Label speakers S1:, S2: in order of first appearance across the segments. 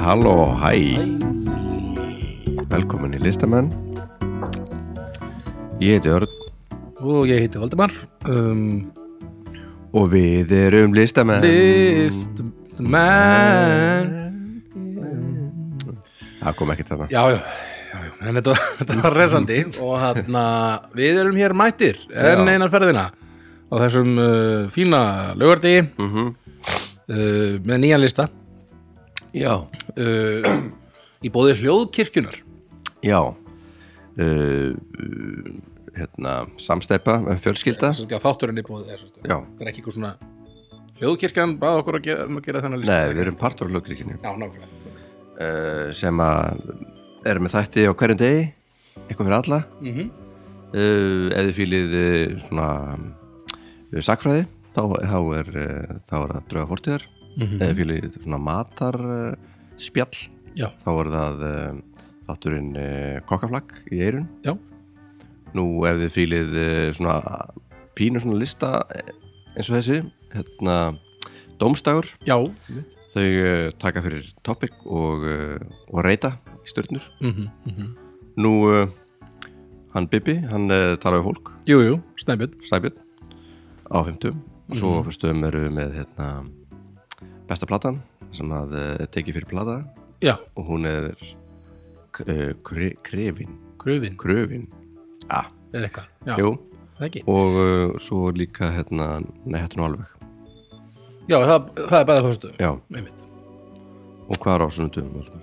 S1: Halló, hæ Velkomin í listamenn Ég heiti Örn
S2: Og ég heiti Valdimar um,
S1: Og við erum listamenn
S2: Listman
S1: Það kom ekkert þarna
S2: Já, já, já, já En þetta, var- þetta var resandi Og þarna, við erum hér mættir En
S1: Já.
S2: einar ferðina Á þessum uh, fína lögardi
S1: mm -hmm.
S2: uh, Með nýjan lista
S1: Já
S2: uh, Í bóði hljóðkirkjunar
S1: Já uh, uh, Hérna, samsteipa, fjölskylda
S2: Sem sagt, Já, þátturinn í bóði er,
S1: Já,
S2: Það er ekki eitthvað svona Hljóðkirkjan bað okkur að gera, um að gera þennan lista
S1: nei, við erum partur á hlugríkinu
S2: Já, nákvæmlega
S1: uh, Sem að erum með þætti á hverjum degi Eitthvað fyrir alla
S2: mm
S1: uh, ef þið fýlið uh, svona uh, sakfræði þá, þá, er, uh, þá er það drauga fórtíðar ef þið fýlið svona matar uh, spjall
S2: Já,
S1: þá er það uh, þátturinn uh, kokkaflag í eirun
S2: já,
S1: nú ef þið fýlið uh, svona pínu svona lista eh, eins og þessi hérna dómstagur
S2: já
S1: þau uh, taka fyrir topic og, uh, og reyta í stjörnur
S2: mm -hmm.
S1: nú uh, hann Bibi, hann uh, talar við fólk
S2: Jú, jú, snæbjörn
S1: Sæbjörn á 50 og svo á fyrstum eru við með hérna, besta platan sem að uh, teki fyrir plata
S2: Já,
S1: og hún er uh, kre, krefin
S2: kröðin
S1: kröfin ah,
S2: eða eitthvað, já,
S1: jú,
S2: það ekki
S1: og uh, svo líka hérna, nei hérna nú alveg
S2: Já, það, það er bæða fyrstu
S1: já,
S2: einmitt.
S1: og hvað er á svona dögum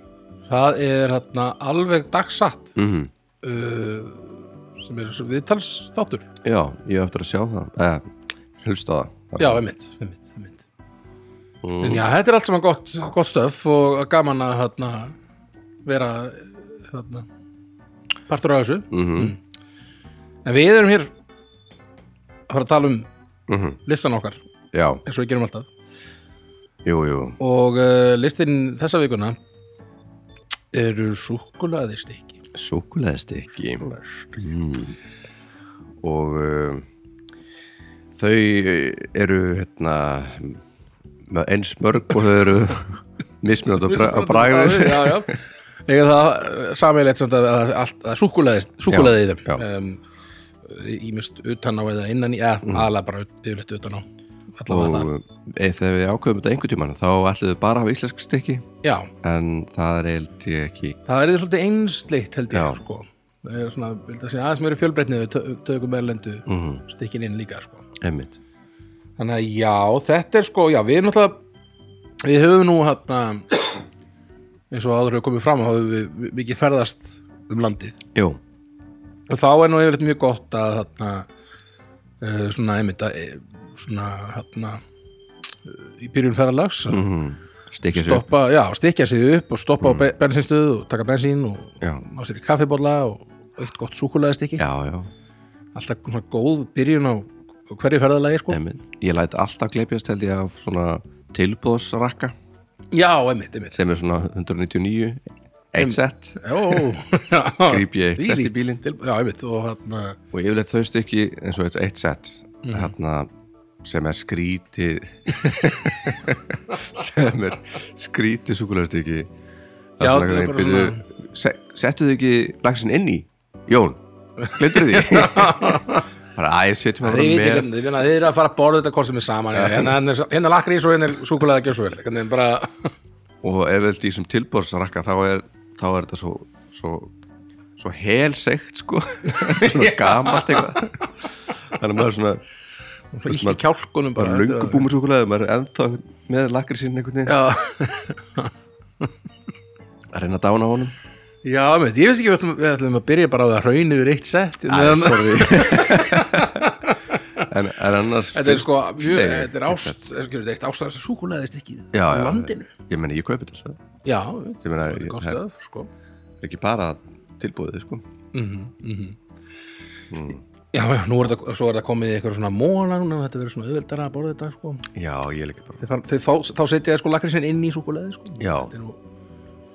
S2: Það er hérna alveg dagsatt
S1: mm -hmm.
S2: uh, sem er viðtals þáttur
S1: já, ég á eftir að sjá það eh, hulsta það
S2: Já, einmitt, einmitt, einmitt.
S1: mm,
S2: En já, þetta er allt saman gott, gott stöf og gaman að hérna, vera hérna, partur á þessu
S1: mm -hmm.
S2: En við erum hér að fara að tala um
S1: Mm -hmm.
S2: listan okkar
S1: já,
S2: eins og við gerum alltaf
S1: jú, jú
S2: og uh, listin þessa vikuna eru súkkulaði stikki
S1: Súkuleðstikki mm. Og uh, þau eru hérna, með eins mörg og þau eru mismunandi á bra- á bragðið
S2: já, já Ég er það samilegt samt að, að, að, að súkkulaðist, súkkulaði í
S1: Já,
S2: þeim um, ímist utan á eða innan í, eða aðlega bara ut- yfirleitt utan á allavega
S1: Mm. Og
S2: það,
S1: e, þegar við ákveðum þetta einhvern tímann þá ætlum við bara að hafa íslensk stikki
S2: já,
S1: en það er eilt ég ekki
S2: það er svolítið einsleitt held
S1: Já.
S2: ég, sko það er svona, vil það segja, aðeins meiri fjölbreytnið við tö- tökum erlendu
S1: mm,
S2: stikkin inn líka, sko
S1: Emmitt
S2: Þannig að já, þetta er sko, já, við náttúrulega, við höfum nú hérna, eins og áður hefur komið fram, þá höfum við- við mikið ferðast um landið.
S1: Jú,
S2: Og þá er nú yfirleitt mjög gott að þarna, uh, svona, einmitt, að, eh, svona, hérna, eh, í byrjun ferðalags, að
S1: mm, stikki sér upp.
S2: stoppa, já, stikja sig upp og stoppa á be- bensinstöðu og taka bensín og
S1: Já,
S2: ná sér í kaffibólla og eitt gott súkulæðistikki.
S1: já, já,
S2: Alltaf svona góð byrjun á hverju ferðalagi, sko.
S1: Emmitt Ég læt alltaf gleipjast held ég af svona tilbúðsrakka
S2: Já, einmitt, einmitt.
S1: sem er svona 199 eitt sett
S2: Jó,
S1: Gríp ég eitt sett í bílinn.
S2: til, Já, einmitt og hérna
S1: og yfirleitt þau stykki eins og eitt, eitt sett
S2: Mhm.
S1: hérna, sem er skrítið sem er skrítið súkulegstykki það
S2: Já, það er
S1: er
S2: bara
S1: byrju, se, settu þau ekki lagsin inn í Jón, glindur því bara að ég setjum að
S2: Þið veit ekki,
S1: vera með
S2: hvernig- ég meina, þið eru að fara að borða þetta hvort sem er saman já, hérna, hérna er- hérna er lakrís og hérna er súkulega ekki svo vel Hvernig er bara,
S1: og ef þetta í sem tilbórsrakka þá er, þá er þetta svo, svo svo helsegt sko svona gamalt eitthvað þannig að maður er svona
S2: svona illt í kjálkunum bara,
S1: bara löngu búmur súkulega maður er ennþá með lakri sín einhvern veginn
S2: Já,
S1: að reyna að dána á honum
S2: já einmitt, ég veist ekki við ætlum, við ætlum að byrja bara á það hraunið er eitt sett
S1: en,
S2: Meðan-
S1: en, en annars
S2: Þetta er sko, mjög,
S1: Nei,
S2: þetta er ást er skilur, þetta er eitt ástæðast súkulega ekki
S1: já, já,
S2: landinu
S1: ég meni ég kaupi þetta sko. alltaf.
S2: Já,
S1: ég meina
S2: þetta er
S1: ég-
S2: gott
S1: það
S2: stöð, sko
S1: er ekki bara tilbúið sko
S2: Já, já, nú er þetta, svo er þetta komið í eitthvað svona móla núna, þetta verður svona auðveldara að borða þetta, sko.
S1: já ég er ekki bara
S2: Þeir, fara- þeir, þá, þá setja þið sko lakrísin inn í súkuleði sko.
S1: Já.
S2: Þetta er nú,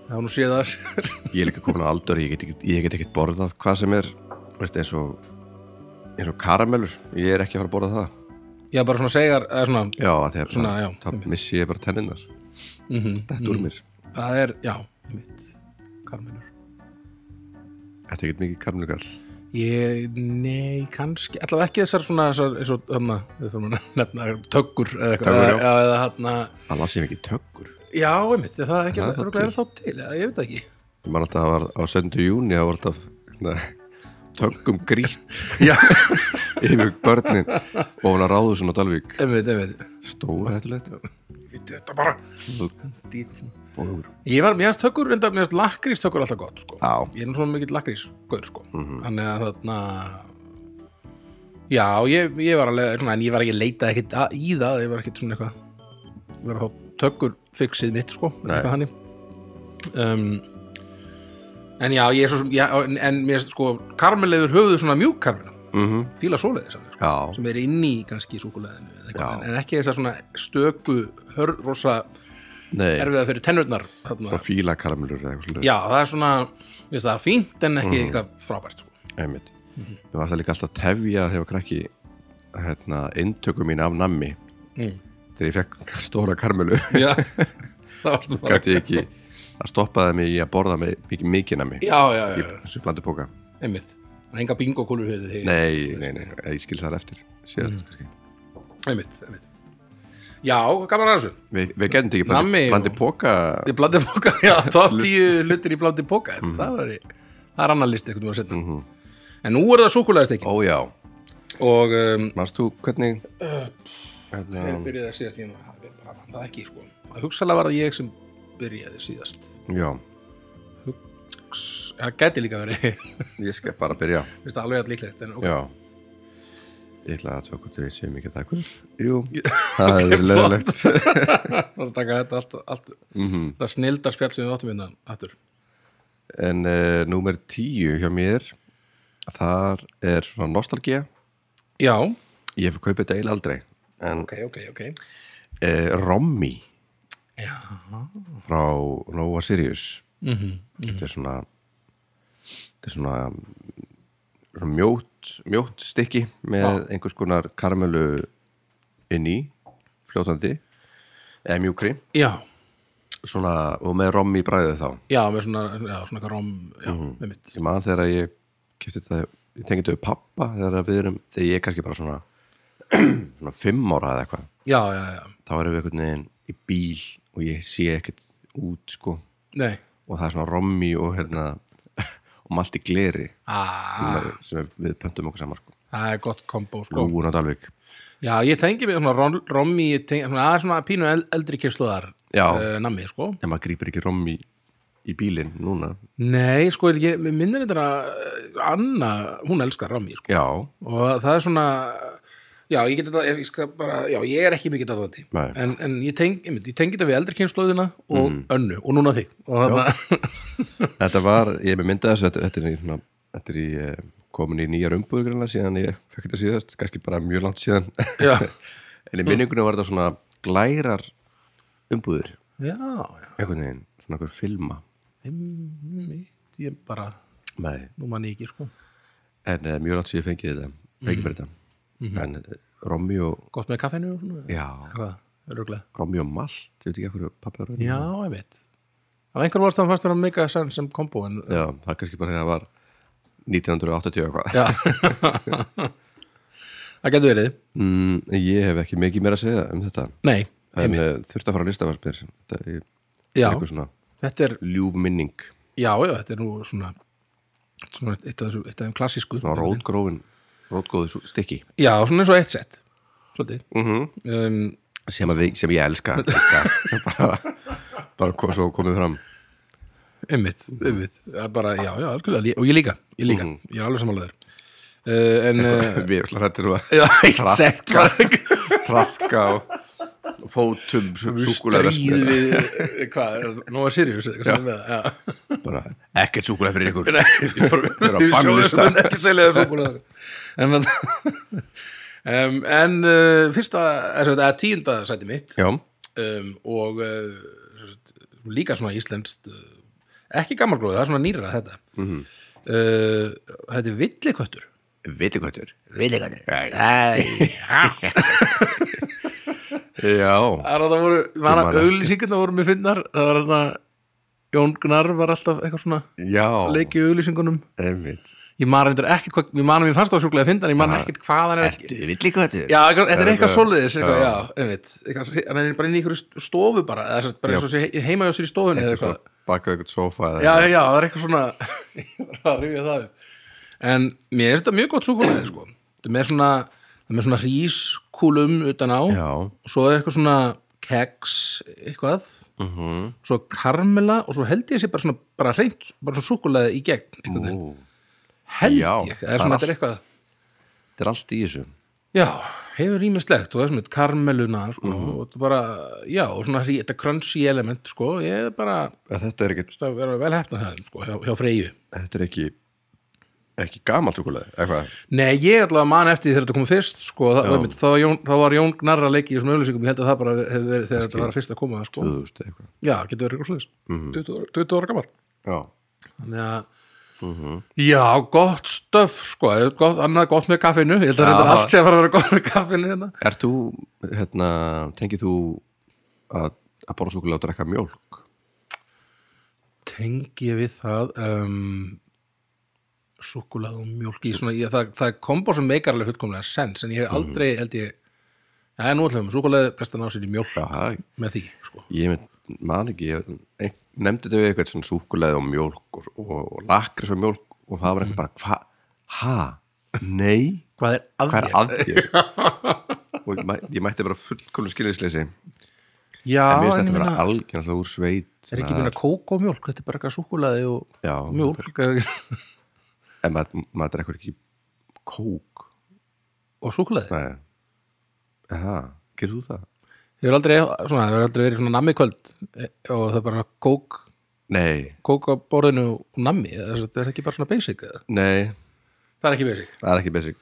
S2: það er nú séð að sér
S1: ég er ekki komin á aldur ég get ekki- ég get ekkert borðað hvað sem er veist, eins og eins og karamellur ég er ekki að fara að borða það
S2: já bara svona segjar eða svona
S1: já að því að
S2: Svona, já,
S1: það missi ég bara tenninnar
S2: mm
S1: þetta úr mér
S2: það er, já, mitt Karmelur
S1: Þetta er ekkert mikið karmlugall
S2: Ég, nei, kannski allavega ekki þessar svona þessar, eins og þarna, við þurfum að nefna töggur eða eitthvað,
S1: Töggur, já.
S2: eða, eða þarna
S1: Það las ég mikið töggur
S2: já, einmitt, það er ekki,
S1: Það er
S2: það
S1: þá
S2: er
S1: til.
S2: ekki þá til, eða, ég veit það ekki
S1: Ég man alltaf að það var á 7. júni það var alltaf na, töggum grýtt
S2: Já.
S1: yfir börnin og hún að ráðu svona Dalvík
S2: einmitt, einmitt,
S1: Stóra hættulegt
S2: þetta bara
S1: Bóður
S2: ég var, mér hans töggur, reyndar, mér hans lakrís töggur alltaf gott, sko,
S1: Já,
S2: ég er nú svona mikill lakrís gaur, sko,
S1: Mhm.
S2: þannig að þarna já, ég, ég var alveg svona, en ég var ekki að leita ekkit að, í það, ég var ekkit svona eitthvað ég var að fá töggur fixið mitt, sko,
S1: Nei.
S2: eitthvað hannig um, en já, ég er svo sem já, en, en mér, finnst, sko, karmelefur höfuðu svona mjúk karmela,
S1: mm
S2: fíla svoleiðis alveg, sko,
S1: já,
S2: sem er inn í kannski súkuleðinu eða eitthvað,
S1: Já.
S2: en, en ekki þess að svona stöku, hör, rosa
S1: nei
S2: erfiða fyrir tennurnar þarna.
S1: Svo fíla karmlur eða eitthvað svolítið
S2: Já, það er svona, við veist það, fínt en
S1: Mhm.
S2: ekki eitthvað frábært sko.
S1: Einmitt. Mér varst það líka alltaf tefja þegar ég var krakki hérna, inntöku mín af nammi
S2: Mm.
S1: þegar ég fekk stóra karmelu
S2: Já, það varstu bara
S1: gæti ég ekki að stoppaði mig í að borða með mikið mikið nammi
S2: Já, já, já,
S1: í
S2: já,
S1: þessu blandupóka
S2: einmitt Það er enga bingokúlur fyrir þig
S1: Nei, nei, nei, ég skil þar eftir síðast kannski
S2: Einmitt, einmitt Já, gaman að þessu
S1: Vi, Við getum ekki
S2: Nammi
S1: blandi,
S2: og-
S1: blandi póka
S2: Þið blandið póka, já, top 10 hlutir í blandið póka mm. Það var það er annar listi einhvern veginn að setja
S1: Mhm.
S2: En nú er það súkulæðist ekki
S1: Ó já,
S2: Og um,
S1: manst þú hvernig
S2: hver
S1: hérna,
S2: byrjaði síðast ég nú- Það er bara vandað ekki, sko Það hugsalega var það ég sem byrjaði síðast
S1: Já,
S2: Það gæti líka verið
S1: ég skal bara byrja
S2: Vist það alveg allir líklegt en, ok.
S1: Já Ég ætla að tóka til við séum ekki að taka upp Jú, það okay, er
S2: flott.
S1: leðilegt
S2: Það er að taka þetta allt, allt
S1: Mhm.
S2: þetta snildar spjall sem við áttum innan aftur.
S1: En uh, númer 10 hjá mér þar er svona nostalgía
S2: Já,
S1: ég hef kaupið þetta eiginlega aldrei en
S2: ok, ok, ok.
S1: uh, Rommi
S2: Já.
S1: frá Nova Sirius
S2: Mm -hmm.
S1: þetta er svona þetta er svona, svona mjótt, mjótt stykki með einhvers konar karmelu inn í fljótandi eða mjúkri
S2: Já,
S1: svona, og með Rommi bræðið þá
S2: já, með svona, já, svona eitthvað róm, já,
S1: Mhm.
S2: með mitt.
S1: ég man þegar ég kefti þetta ég tengi þetta við pappa þegar við erum þegar ég er kannski bara svona svona fimm ára eða eitthvað
S2: Já, já, já,
S1: þá erum við einhvern veginn í bíl og ég sé ekkert út sko
S2: nei.
S1: og það er svona rommi og hérna og malt í gleri sem,
S2: Ah,
S1: er, sem við pöntum okkur saman sko
S2: það er gott kombo, sko.
S1: Lúgun á Dalvik
S2: Já, ég tengi mig svona rón- rommi, ég tengi, svona, það er svona pínu el- eldri kyrsluðar
S1: Já.
S2: uh, nammi, sko.
S1: en maður grýpir ekki rommi í bílinn núna
S2: Nei, sko, ég mig minnir þetta að eh, Anna, hún elskar rommi, sko.
S1: já,
S2: og það er svona já, ég get þetta, ég skal bara já, ég er ekki mikið aðvati
S1: Nei. Mhm.
S2: en, en ég, teng, einmitt, ég tengi þetta við eldri kynnslóðina og önnu, og núna þig og þarna,
S1: þetta var, ég er með myndað þessu þetta, þetta er í, svona, þetta er í eh, komin í nýjar umbúður grannlega síðan ég fekk þetta síðast kannski bara mjög langt síðan
S2: já,
S1: en
S2: Mm.
S1: í minningunni var þetta svona glærar umbúður
S2: já, já
S1: einhvern veginn, svona einhver filma
S2: einmitt, ég bara,
S1: með
S2: nú mann ég ekki sko
S1: en uh, mjög langt sér fengið þetta fengið
S2: Mm.
S1: mér þetta
S2: Mm-hmm.
S1: en uh, Rommi og
S2: gott með kaffinu og svona
S1: já,
S2: eitthvað, öruglega
S1: Rommi og Malt ég veit ekki hverju pappi var
S2: já, einmitt af einhver vorst fannst vera mega sann sem kombo en
S1: já, það er kannski bara þegar það var 1980 eitthvað
S2: já það getur verið,
S1: mm, ég hef ekki mikið meira að segja um þetta
S2: nei,
S1: en uh, þurft að fara að lista var spyr þetta er
S2: já,
S1: eitthvað svona
S2: þetta er
S1: ljúf minning
S2: já, já, þetta er nú svona svona eitt af þessu- eitt af þeim klassísku
S1: svona rótgrófin rótgóðu sú- stykki
S2: Já, svona eins og eitt sett Svolítið
S1: mm
S2: um,
S1: sem, að við, sem ég elska elska. bara, bara kom, svo komið fram
S2: Einmitt, einmitt Það er bara, Já, já, algjörlega lí- Og ég líka, ég líka
S1: Mhm.
S2: Ég er alveg sammálaður uh, En uh,
S1: við erum slá hættir um að
S2: Já, eitt
S1: Krakka.
S2: sett var
S1: trafka og fótum súkulega
S2: Stríð við Hvað, er Nóa Sirius eða Eitthvað sem við Já
S1: bara, ekkert súkulega fyrir ykkur
S2: Við
S1: á bannlista.
S2: sjóðum ekki selja þér súkkulaði. En um, En uh, fyrsta er, þetta, eða, Tíunda sæti mitt
S1: já,
S2: um, og uh, sem sagt, líka svona íslenskt uh, ekki gammalgróð, það er svona nýra þetta
S1: Mhm.
S2: uh, þetta er villiköttur
S1: viti hvað þetta er
S2: villiköttur
S1: já,
S2: það er að það voru
S1: Ég man ekki.
S2: auðlýsingarna voru mér finnar það var að Jón Gnarr var alltaf eitthvað svona
S1: já,
S2: leikið auðlýsingunum
S1: einmitt
S2: ég man reyndar ekki hvað, ég man að mér fannst það sjúklega að finna en ég man
S1: Aha.
S2: ekkert hvað hann er ekki
S1: villigötur?
S2: Já, eitthvað-
S1: Það
S2: þetta er
S1: er
S2: eitthvað
S1: eitthvað-
S2: svoleiðis eitthvað,
S1: já.
S2: já, einmitt eitthvað- hann er bara inn í einhverju stofu bara eða sem sagt bara
S1: Já.
S2: eins og sé heima hjá sér í stofunni eða eitthvað
S1: baka eitthvað sofa eða-
S2: já, já, það er eitthvað svona ég var að rifja það upp en mér finnst þetta mjög gott súkuleði sko. þetta er með svona, það er með svona rískúlum utan á
S1: já,
S2: og svo er eitthvað svona keks eitthvað,
S1: mhm
S2: svo karmela og svo held ég sé bara svona, bara hreint bara svona súkuleði í gegn einhvern veginn.
S1: Ú,
S2: held
S1: Já,
S2: ég, það
S1: það er
S2: er svona,
S1: allt.
S2: þetta er eitthvað
S1: þetta er allt í þessu
S2: já, hefur ímislegt og það er svona karmeluna sko,
S1: Mhm.
S2: og þetta er bara, já, og svona hrí, þetta crunchy element, sko, ég er bara
S1: þetta er ekki,
S2: það er að vera vel hefna það, sko, hjá, hjá Freyju
S1: þetta er ekki ekki gamalt súkulega, eitthvað
S2: Nei, ég ætla að man eftir því þegar þetta kom fyrst sko, það,
S1: Já.
S2: einmitt, þá, var Jón, þá var Jón Gnarra leiki í þessum auðlýsingum, ég held að það bara hefur verið þegar þetta var að fyrst að koma sko.
S1: 2000 eitthvað
S2: Já, getur verið eitthvað sliðis
S1: Mhm.
S2: 20 ára- 20 ára gammal
S1: já,
S2: Þannig að
S1: Mhm.
S2: Já, gott stöf, sko, eða gott, annað gott með kaffinu, ég held að
S1: Já.
S2: reynda allt sé að fara að vera gott með kaffinu hérna.
S1: ert þú, hérna tengið þú að, að borða súkulega og drekka mjólk
S2: Tengi ég við það um, súkulað og mjólk Mhm. í svona, ég, það, það er kombo sem meikar alveg fullkomlega sens, en ég hef aldrei, held ég, já, nú ætlum við, súkulað best að ná sér í mjólk
S1: já,
S2: með því, sko.
S1: ég mynd, man ekki ég, ein, nefndi þetta við eitthvað svona súkulega og mjólk og, og, og lakris og mjólk og það var eitthvað bara, hva, ha nei,
S2: Hvað er að
S1: hvað
S2: þér?
S1: er að þér og ég, mæ- ég mætti bara fullkomlega skilisleysi en
S2: Já,
S1: mér finnst
S2: en
S1: þetta
S2: ég
S1: að vera
S2: meina,
S1: algjörnlega úr sveit
S2: er ekki meina kók og mjólk, þetta er bara eitthvað súkulaði og
S1: já,
S2: mjólk
S1: en maður, maður drekkur ekki kók
S2: og súkulaði.
S1: nei, aha, gerir þú það?
S2: Ég hefur aldrei, svona, ég hefur aldrei verið svona nammi kvöld eh, og það er bara kók,
S1: nei,
S2: kók á borðinu og nammi, eða þess að þetta er ekki bara svona basic eða?
S1: nei,
S2: Það er ekki basic.
S1: það er ekki basic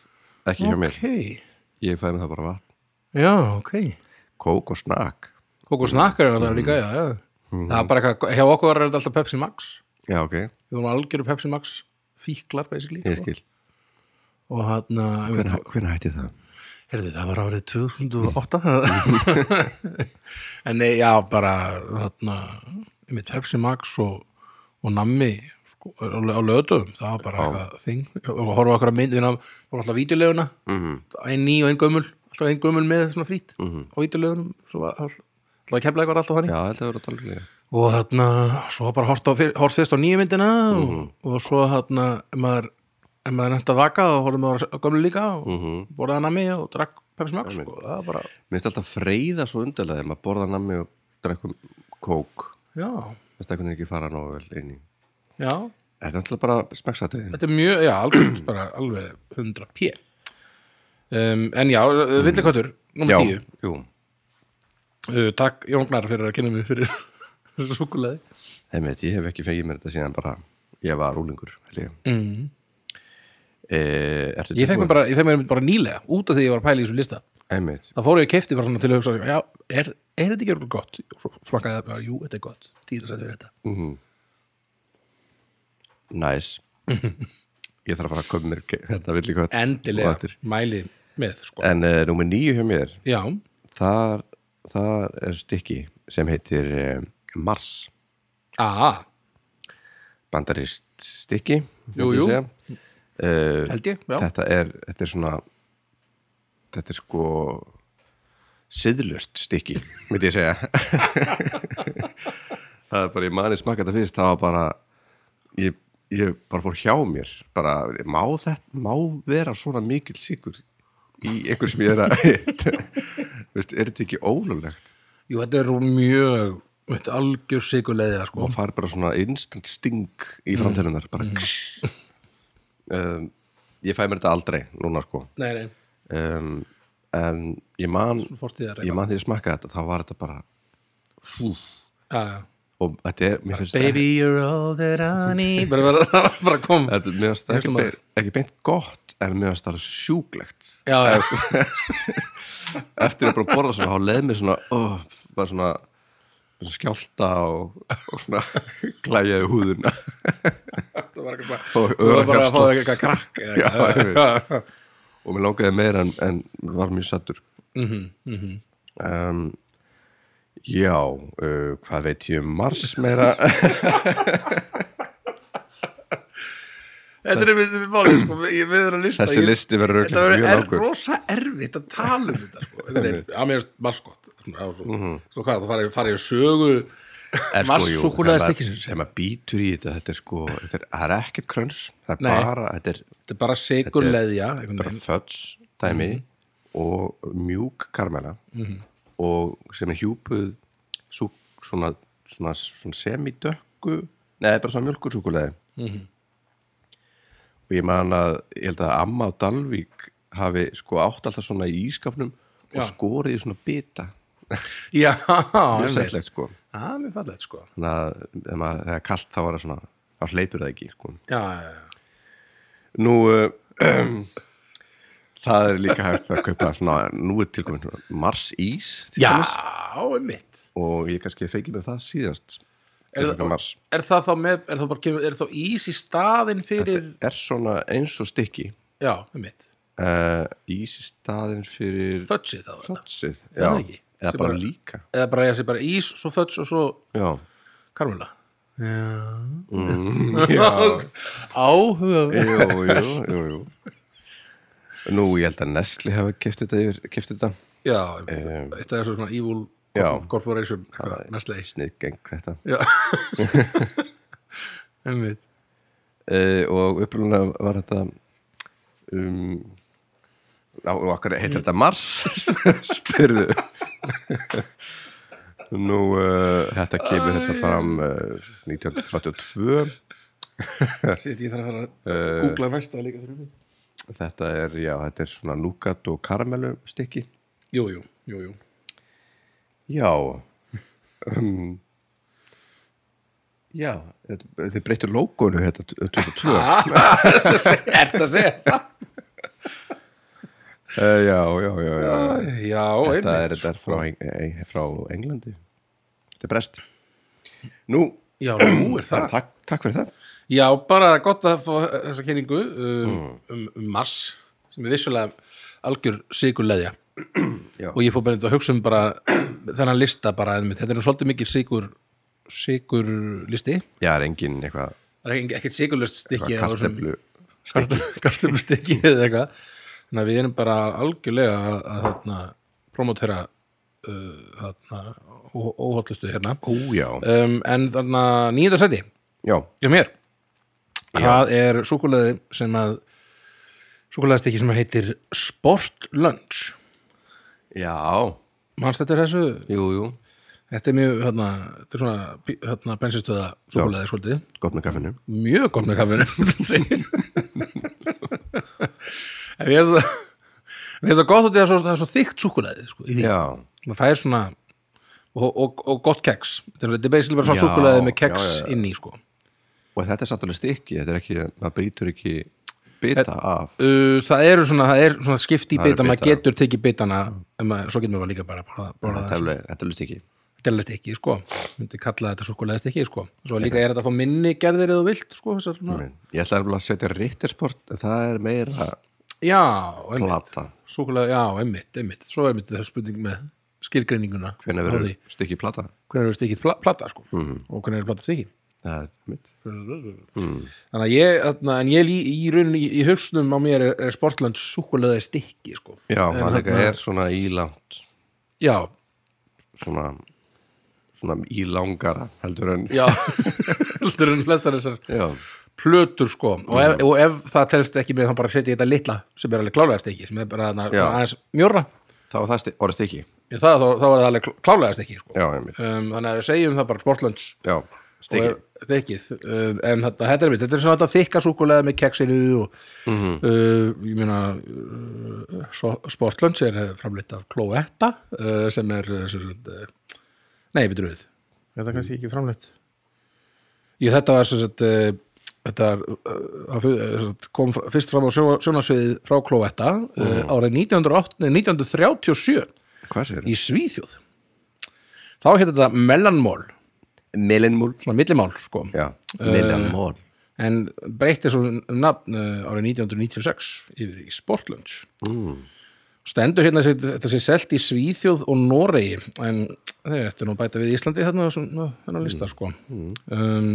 S1: ekki hjá mér,
S2: Ok,
S1: ég fæði með það bara vatn
S2: já, ok.
S1: kók og snakk
S2: Kók og snakkar er alltaf
S1: Mm.
S2: líka, já, já. Það er bara eitthvað, hjá okkur er þetta alltaf Pepsi Max,
S1: já, ok,
S2: við vorum algjöru Pepsi Max fíklar, basically.
S1: ég skil
S2: Og hann,
S1: Hvenær hvenær hætti það?
S2: Herði, það var árið 2008 En nei, já, bara þarna, einmitt Pepsi Max og, og Nammi sko, á, á löðum, það var bara eitthvað þing, og horfa okkur að mynd við vorum alltaf vítuleguna,
S1: Mhm.
S2: ein ný og ein gömul alltaf ein gömul með svona frít á vítulegunum, svo var all- alltaf kemla eitthvað alltaf þannig
S1: Já, þetta verður að tala líka
S2: og þarna, svo var bara hort, á, fyr- hort fyrst á nýju myndina og, og svo þarna, ef maður ef maður er nefnt að vaka og horfum maður á gömlu líka og mm -hmm. borðaði nammi og drakk Pepsi Max sko. og það var bara
S1: Mér finnst alltaf freyða svo undarlega þegar maður borða nammi og drekkum kók
S2: Já,
S1: Mér finnst eitthvað ekki fara nógu vel inn í
S2: já,
S1: Þetta er alltaf bara smekksatriðin
S2: þetta er mjög, já, alveg, bara alveg 100 p. Um, en já, mm. villikottur, nummer 10.
S1: jú
S2: Uh, takk Jóngnar fyrir að kynna mig fyrir þessu súkulaði.
S1: Einmitt, Ég hef ekki fegið mér þetta síðan bara ég var rúlingur held ég.
S2: Mm.
S1: E, ertu
S2: Ég fekk
S1: tilbúin?
S2: mér bara, ég fekk mér bara nýlega, út af því ég var að pæla í þessu lista.
S1: Einmitt,
S2: Það fór ég að kefti bara svona til að hugsa, já, er, er þetta ekki örugglega gott? Og svo smakkaði það bara, jú, þetta er gott, tíðarsætt fyrir þetta.
S1: mhm. næs Ég þarf að fara að köpa mér ke- þetta villi hvað Og
S2: Endilega,
S1: aftur.
S2: mæli með, sko.
S1: En uh, númer nýju hjá mér
S2: já,
S1: þar, þar er stykki sem heitir uh, Mars
S2: aha,
S1: bandarist stykki
S2: Jú, jú.
S1: Uh,
S2: held ég, já.
S1: þetta er, þetta er svona þetta er sko siðlust stykki myndi ég segja það er bara, ég mani smakka þetta fyrst það var bara ég, ég bara fór hjá mér bara, má, þetta, má vera svona mikil sigur í einhver sem ég er að veist, er þetta ekki ólulegt
S2: Jú, þetta er mjög, þetta er algjör sikuleiðið, sko.
S1: og fær bara svona instant sting í framtælunar bara um, ég fæ mér þetta aldrei núna sko
S2: Nei, nei,
S1: um, en ég man
S2: fórstíðar
S1: ég man þegar ég smakkaði þetta, þá var þetta bara
S2: já,
S1: og þetta er, mér finnst
S2: Baby, you're all that I need bara, bara, það var bara kom
S1: þetta þetta- mér finnst það ekki,
S2: Veislumaður.
S1: beint- ekki beint gott en mér finnst það alveg sjúklegt
S2: já, já, sko.
S1: eftir að bara borða svona, þá leið mér svona oh, bara svona, svona skjálta og, og svona klæjaði húðuna
S2: það var eitthvað
S1: og
S2: það var bara að fá
S1: örhjartslátt.
S2: eitthvað krakk eða
S1: Já,
S2: eitthvað.
S1: ég veit. og
S2: Mhm,
S1: mér langaði meira en, en var mjög sattur mm -hmm, um, Já, uh, hvað veit ég um Mars meira?
S2: Þetta er einmitt við málið, sko, ég við erum að lista
S1: Þessi
S2: ég-
S1: listi verður
S2: Þetta
S1: örugglega mjög
S2: verður er
S1: langur.
S2: rosa erfitt að tala um þetta, sko Þetta er- að mér er maskott svona, og svo, svo hvað, þá fara ég- fara ég að sögu
S1: Mhm. Er sko, jú, þegar
S2: Vatnssúkkulaði
S1: maður-
S2: stykkisins.
S1: Þegar maður býtur í þetta, þetta er sko, þetta er, það er ekkert kröns, það er
S2: Nei. Mm.
S1: bara, þetta er
S2: Þetta er bara sigur leðja
S1: bara föds dæmi
S2: Mm.
S1: og mjúk karmela
S2: Mhm.
S1: og sem er hjúpuð sú, svona, svona, svona semidökku neða bara svona mjölkursúkulegði
S2: Mhm.
S1: og ég man að ég held að amma á Dalvík hafi sko átt alltaf svona í ískapnum og
S2: Já.
S1: skorið í svona bita
S2: Já,
S1: mjög
S2: það
S1: sætlegt sko
S2: er mjög fallegt, sko
S1: þannig að ef maður- þegar kalt þá er það svona þá hleypur það ekki sko
S2: Já, já, já
S1: Nú uh, Það er líka hægt að kaupa svona, nú er tilkomin svona Mars Ís til
S2: Já,
S1: dæmis,
S2: einmitt
S1: og ég kannski feikið með það síðast
S2: Er
S1: tilkynna
S2: það-
S1: Mars.
S2: Er það þá með, er það bara kemur, er þá ís í staðinn fyrir
S1: Er svona eins og stykki
S2: Já, einmitt,
S1: uh, Ís í staðin fyrir
S2: fötsið þá er það
S1: Fötsið,
S2: er
S1: já,
S2: það ekki.
S1: eða
S2: Sem
S1: bara
S2: bara-
S1: líka
S2: Eða bara ég sé bara ís, svo föts og svo
S1: Já,
S2: karmula Já
S1: Mm, já
S2: Áhuga
S1: Jú, jú, jú, jú Nú, ég held að Nestle hafa keft þetta yfir, keft þetta
S2: Já, einmitt. þetta er svo svona evil
S1: Já.
S2: corporation, næstlega ís
S1: sniðgeng þetta
S2: Já Einmitt
S1: uh, og upprúlega var þetta um, á, og okkar heitir þetta Mars spyrðu nú uh, þetta kemur hérna fram uh, 1932
S2: Sitt, ég þarf að fara að googla næsta líka fyrir mig
S1: þetta er, já, þetta er svona núkat og karamelu stykki
S2: Jú, jú, jú, jú
S1: já um, já þetta- þið breytir logoinu hérna 2002
S2: Ertu að segja það?
S1: uh, já, já, já, já
S2: Já,
S1: þetta
S2: einmitt
S1: er, þetta er frá, Eng- Eng- frá Englandi þetta er brest nú,
S2: Já, nú er það
S1: bara takk, takk fyrir það
S2: Já, bara gott að fá þessa kynningu um, um, um Mars sem er vissulega algjör sigurleðja
S1: Já.
S2: og ég fór bara að hugsa um bara þennan lista bara, einmitt. þetta er nú svolítið mikið sigur sigur listi
S1: já, það er engin eitthvað
S2: það er ekki- ekkert sigurlust stykki eða
S1: karteflu
S2: svona- kartöflu stykki eða eitthvað þannig að við erum bara algjörlega að, að þarna, promotera uh, þarna, ó- óhollustu hérna
S1: ójá,
S2: um, en þarna nýjönda sæti
S1: já,
S2: Já, mér. Það er súkuleði sem að súkuleðastykki sem heitir Sport Lunch.
S1: já
S2: Manst þetta er þessu?
S1: jú, jú,
S2: Þetta er mjög, hérna, þetta er svona bí- hérna, bensinstöða súkuleði svolítið.
S1: gott með kaffinu
S2: Mjög gott með kaffinu. en ég veist það Mér finnst það gott að það er svo, það er svo þykkt súkuleði sko, í því.
S1: já,
S2: Maður fær svona og, og, og gott keks. Þetta er- þetta er basically bara svona
S1: Já,
S2: súkuleði með
S1: já,
S2: keks
S1: já, já.
S2: inn í, sko.
S1: og þetta er satt alveg stykki þetta er ekki, það brýtur ekki bita af
S2: Uh, það eru svona, það er svona skipt í
S1: Það eru
S2: bita, maður
S1: bitar.
S2: getur tekið bitana en maður, svo getur maður líka bara bara, bara
S1: þetta er alveg, þetta er alveg stykki
S2: delast ekki, sko myndi kalla þetta súkulegast ekki, sko svo líka er þetta að fá minni gerðir eða þú vilt, sko þessar, svona,
S1: ég ætla alveg að setja rittersport en það er meira
S2: já, einmitt
S1: plata
S2: súkulega, já, einmitt, einmitt, svo einmitt það er spurning með skilgreininguna
S1: hvernig
S2: á
S1: verður Mhm.
S2: því.
S1: stykki plata
S2: hvernig verður stikkið pla- plata, sko og hvernig verður plata stikkið
S1: það er mitt
S2: þannig að ég, þarna, en ég í, í rauninni í, í hugsnum á mér er, er sportland súkulega stikki, sko
S1: já,
S2: En
S1: það líka
S2: þarna-
S1: er svona ílangt
S2: já,
S1: svona, svona í langara heldur en
S2: já, heldur en flestar þessar
S1: já,
S2: plötur sko og ef,
S1: Mhm.
S2: og ef það telst ekki með þá bara setja ég þetta litla sem er alveg klálegast ekki sem er bara þarna,
S1: Já.
S2: svona aðeins mjóra
S1: þá er það sti- orðið stikki
S2: Ég, það, þá, þá er það alveg klálegast ekki sko.
S1: já, einmitt.
S2: um, þannig að við segjum það bara sportlands
S1: já, stikki
S2: stekið um, en þetta, þetta er mitt, þetta er svona þetta þykka súkulega með keksinu og uh, ég meina uh, svo- sportlands er framleitt af Cloetta uh, sem er uh, sem sagt, uh, nei, betur við þetta er kannski ekki framleitt ég þetta var sem sagt uh, þetta er, uh, að fu- eh, sem sagt, kom fr- fyrst fram á sjónasviðið frá Cloetta uh, árið 1908, nei, 1937
S1: hvað sér?
S2: í Svíþjóð þá hétt þetta mellanmól
S1: Melinmúl
S2: svona millimál sko
S1: já, Melinmúl
S2: en eh, breytti svo um nafn uh, árið 1996 yfir í Sportlunch
S1: mm.
S2: stendur hérna sem- þetta sé selt í Svíþjóð og Noregi en þeir eftir nú að bæta við Íslandi þarna
S1: Mm.
S2: þennan lista sko um,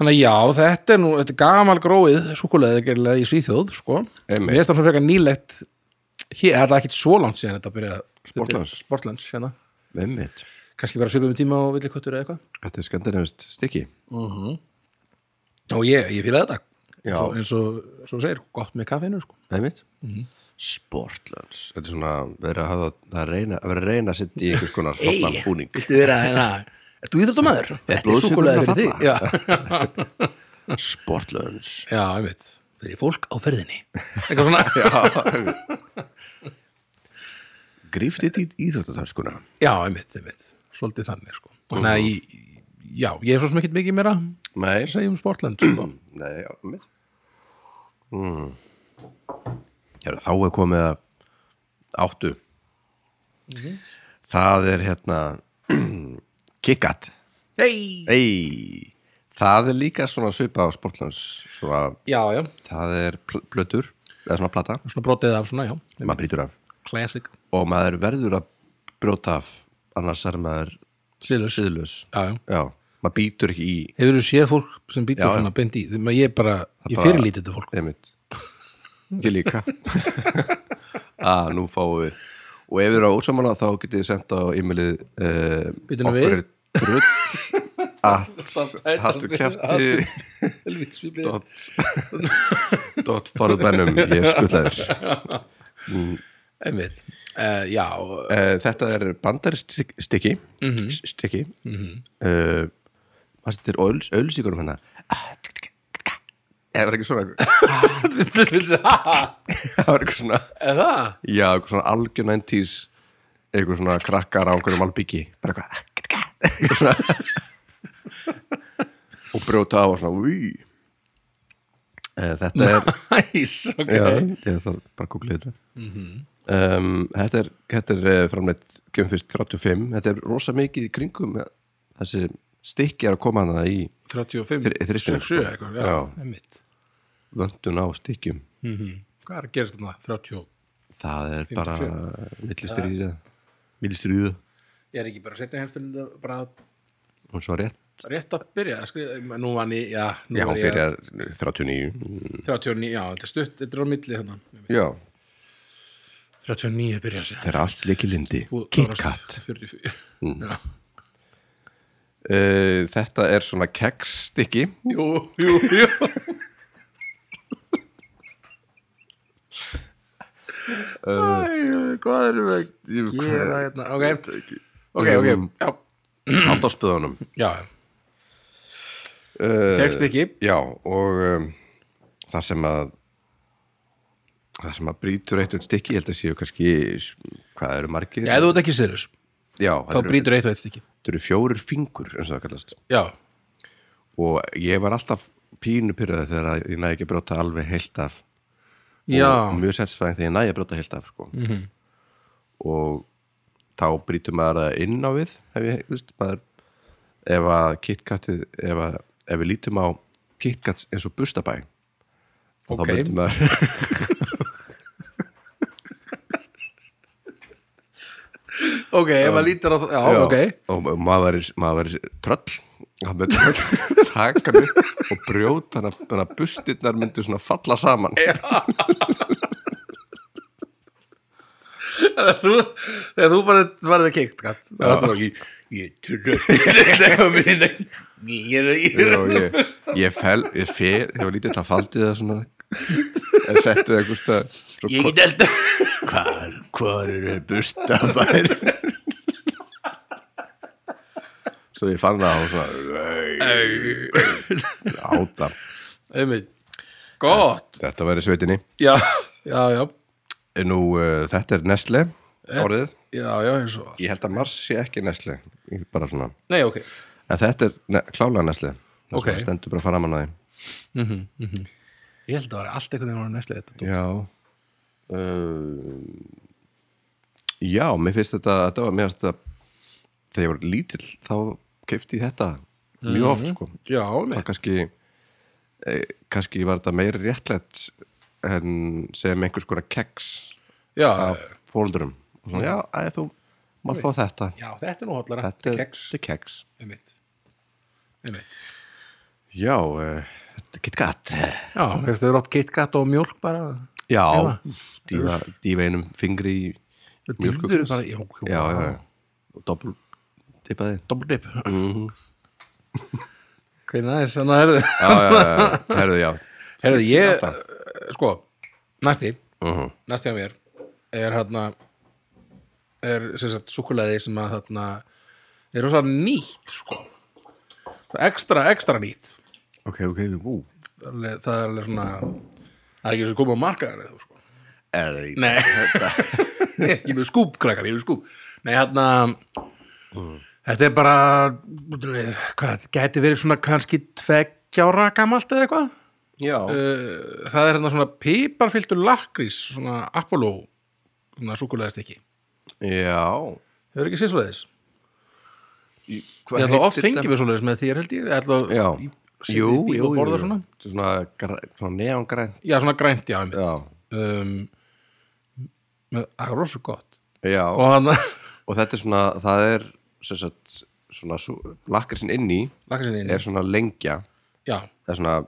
S2: þannig að já þetta er nú, þetta er gamal gróið súkulega í Svíþjóð sko
S1: Einmitt.
S2: mér finnst það svona frekar nýlegt hér, það er ekki svo langt síðan þetta byrja
S1: Sportlands.
S2: Sportlands hérna.
S1: Einmitt.
S2: kannski vera svipum tíma og villikottur eða eitthvað
S1: Þetta er skandinavist stykki
S2: og ég, ég fýla þetta
S1: Já.
S2: Svo- eins og svo þú segir, gott með kaffinu sko.
S1: Einmitt. Sportlands. Þetta er svona verið að, hafa, að, reyna, að vera að reyna að setja í einhvers konar hafnan búning.
S2: viltu vera hérna Ertu íþróttumæður? Þetta er
S1: blóðsykurinn
S2: súkulega
S1: að
S2: fyrir
S1: falla?
S2: þig Já,
S1: Sportlands.
S2: já ég veit Fyrir fólk á ferðinni Eitthvað svona
S1: Gríft þetta í íþróttatöskuna.
S2: Já, ég veit, ég veit Svolítið þannig sko
S1: Mhm.
S2: Þannig að ég, já, ég er svo sem ekkert mikið meira að
S1: Nei.
S2: segja um Sportland
S1: Mhm.
S2: sko.
S1: Nei, já, einmitt. Mm. Já, þá er komið að áttu. Það er hérna kikkat.
S2: Hei!
S1: Ei, það er líka svona svipa á Sportlands. Svona,
S2: Já, já,
S1: það er pl plötur, eða svona plata.
S2: svona brotið af svona, já
S1: Maður brýtur af.
S2: Classic
S1: og maður verður að brjóta af annars er maður
S2: Sliðlaus Já,
S1: siðlaus
S2: já
S1: já, maður býtur ekki í
S2: Hefur þú séð fólk sem býtur
S1: Já, já.
S2: svona beint í Þegar maður- ég bara, ég
S1: bara-
S2: fyrirlítið þetta fólk
S1: einmitt ég líka að Ah, nú fáum við og ef við erum á útsamála þá getið þið sendt á e-mailið uh,
S2: Bíddu nú við.
S1: trull hattu kæfti
S2: Helvít svipið
S1: dot farubennum ég skuldaður
S2: Einmitt, uh, já,
S1: uh, þetta er bandarist stykki
S2: Mhm.
S1: stykki uh, hvað þetta er ölsíkurum hennar eða Eh, var ekki svona
S2: þú vilst
S1: það
S2: það?
S1: var eitthvað svona
S2: Er það?
S1: já, eitthvað svona algjör 90s eitthvað svona krakkar á einhverjum albyggi bara eitthvað "Ah, eitthvað svona. og brjóta á og svona új þetta er
S2: Næs, ok
S1: já, ég þarf bara að googla þetta
S2: Mhm.
S1: um, þetta er, þetta er eh, framleitt Gjöfnfyrst 35, þetta er rosa mikið í kringum eh, þessi stykki er að koma hana í
S2: 35,
S1: Þri- þristurinn,
S2: 67
S1: sko.
S2: eitthvað, já,
S1: Já.
S2: einmitt
S1: vöndun á stykkjum
S2: Hvað er að gera þarna, 30?
S1: það er bara millistrýða millistrýða
S2: Ég er ekki bara að setja heimstunum bara
S1: hún svo rétt
S2: rétt að byrja að skrifa, nú var ég, já, nú
S1: Já, hún
S2: var ég
S1: byrjar 39
S2: 39, já, þetta er stutt, þetta er á milli þannig
S1: Já,
S2: 39 byrja að segja
S1: það er allt leikið lindi KitKat
S2: 44,
S1: Mm.
S2: já
S1: uh, Þetta er svona keksstykki
S2: Jú, jú, jú
S1: Æ, hvað erum við
S2: Ég er að hérna, ok, ok, ok,
S1: Um,
S2: já,
S1: Allt á spöðunum
S2: já
S1: uh,
S2: Tekst ekki,
S1: Já, og um, það sem að það sem að brýtur eitt og eitt stykki, ég held að séu kannski hvað eru margir?
S2: já, ef þú ert ekki seriðus,
S1: Já,
S2: þá
S1: það eru,
S2: brýtur eitt og eitt stikki
S1: það eru fjórir fingur eins og það kallast
S2: Já,
S1: og ég var alltaf pínu pyrröði þegar að ég næði ekki að brjóta alveg heilt af og
S2: já, Mhm.
S1: mjög sætsfæðing þegar ég næja að brjóta heilt af sko. -hmm. og þá brýtum maður það inn á við ef, ég, þú veist, maður, ef að KitKatið ef, að, ef við lítum á KitKats eins og bustabæ og
S2: Ok.
S1: þá brýtum maður
S2: ok, ef maður lítur á það, já, ok
S1: og ma- maður er, maður er tröll hann myndi tröll taka hann upp og brjóta hann þannig að bustirnar myndu svona falla saman
S2: þú, þegar þú farið, farið að keikt gatt þá var það ekki ég tröfn ég er ég er
S1: og ég, ég fel ég fer, ég var lítið að faldi það svona en setti það eitthvað stað svo
S2: ég get alltaf
S1: Hvar, hvar eru bustabær? Svo ég fann það og svona Áta
S2: einmitt gott
S1: Þetta væri sveitinni
S2: já já já
S1: Nú, uh, þetta er Nestle orðið
S2: já já eins og allt
S1: Ég held að Mars sé ekki Nestle Ég Bara svona
S2: nei ok
S1: En þetta er ne klálega Nestle Það
S2: Ok.
S1: okay. stendur bara fram hann að því
S2: ég held að það var allt einhvern veginn á næsli þetta
S1: Já uh, Já, mér finnst þetta, þetta var, Mér finnst þetta Þegar ég var lítill þá kefti ég þetta Mjög oft sko
S2: já
S1: það
S2: einmitt
S1: kannski e, eh, kannski var þetta meira réttlætt en sem einhvers konar keks
S2: já,
S1: af fóruldurum og svona, já, æ, þú mátt þá þetta
S2: já, þetta er nú hóllara
S1: þetta er
S2: keks,
S1: þetta er keks
S2: einmitt einmitt,
S1: já,
S2: e,
S1: uh, þetta getur gatt
S2: já, þess að þau rátt KitKat og mjólk bara
S1: já,
S2: Eða?
S1: dýfa, dýfa einum fingri í Mjólk og
S2: dýfður bara, já,
S1: já, já, já, Mm, og doppel tippaði
S2: double dip hvernig aðeins, þannig að herðu
S1: já, já, já, já, herðu, já
S2: herðu, ég, sko næsti,
S1: uh -huh.
S2: næsti á mér er hérna er sem sagt súkulaði sem að þarna er rosa nýtt sko ekstra, ekstra nýtt
S1: ok, ok, ú
S2: það er alveg, það er alveg svona það er ekki eins og komið á markaðar eða sko
S1: er það í
S2: nei ég er með skúb krakkar, ég er með skúb nei hérna þetta er bara bútum við, hvað, þetta gæti verið svona kannski tveggjára gamalt eða eitthvað
S1: já,
S2: Uh, það er hérna svona piparfyltur lakrís, svona Apollo svona súkulega stikki
S1: já
S2: hefur ekki séð svo leiðis
S1: Hvað
S2: ég ætla oft
S1: heitir
S2: fengið
S1: þetta?
S2: við svo leiðis með þér held ég ég ætla
S1: Já,
S2: að setja í bíl og borða svona
S1: Þetta er svona, græ- svona neongrænt
S2: já svona grænt já, einmitt.
S1: Já,
S2: um, með, það er rosa gott
S1: já
S2: og
S1: og,
S2: hann
S1: þetta er svona, það er sem sagt, svona, svo- lakrísinn inn í
S2: lakrísinn inn
S1: er svona lengja
S2: já,
S1: eða svona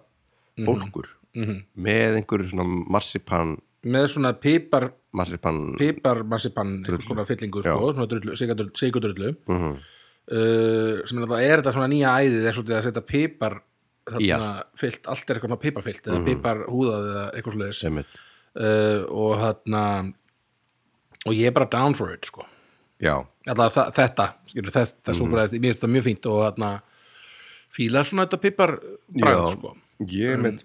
S1: bólkur Mhm. með einhverju svona marsipan
S2: með svona pipar
S1: marsipan
S2: piparmarsipan einhvers konar fyllingu
S1: Já. Mhm.
S2: sko, svona drullu, sigurdrullu, sigurdrullu uh, sem er, náttúrulega- er þetta svona nýja æðið er svolítið að setja pipar
S1: Í
S2: þarna fyllt, allt er eitthvað svona piparfyllt eða piparhúðað eða eitthvað
S1: Mhm.
S2: svoleiðis
S1: sem er,
S2: uh, og þarna og ég er bara down for it sko
S1: já,
S2: alltaf þa- þetta, skilur, þess, þess mm -hmm. mér finnst þetta mjög fínt og þarna fílar svona þetta pipar bragð
S1: Já.
S2: sko
S1: ég um, með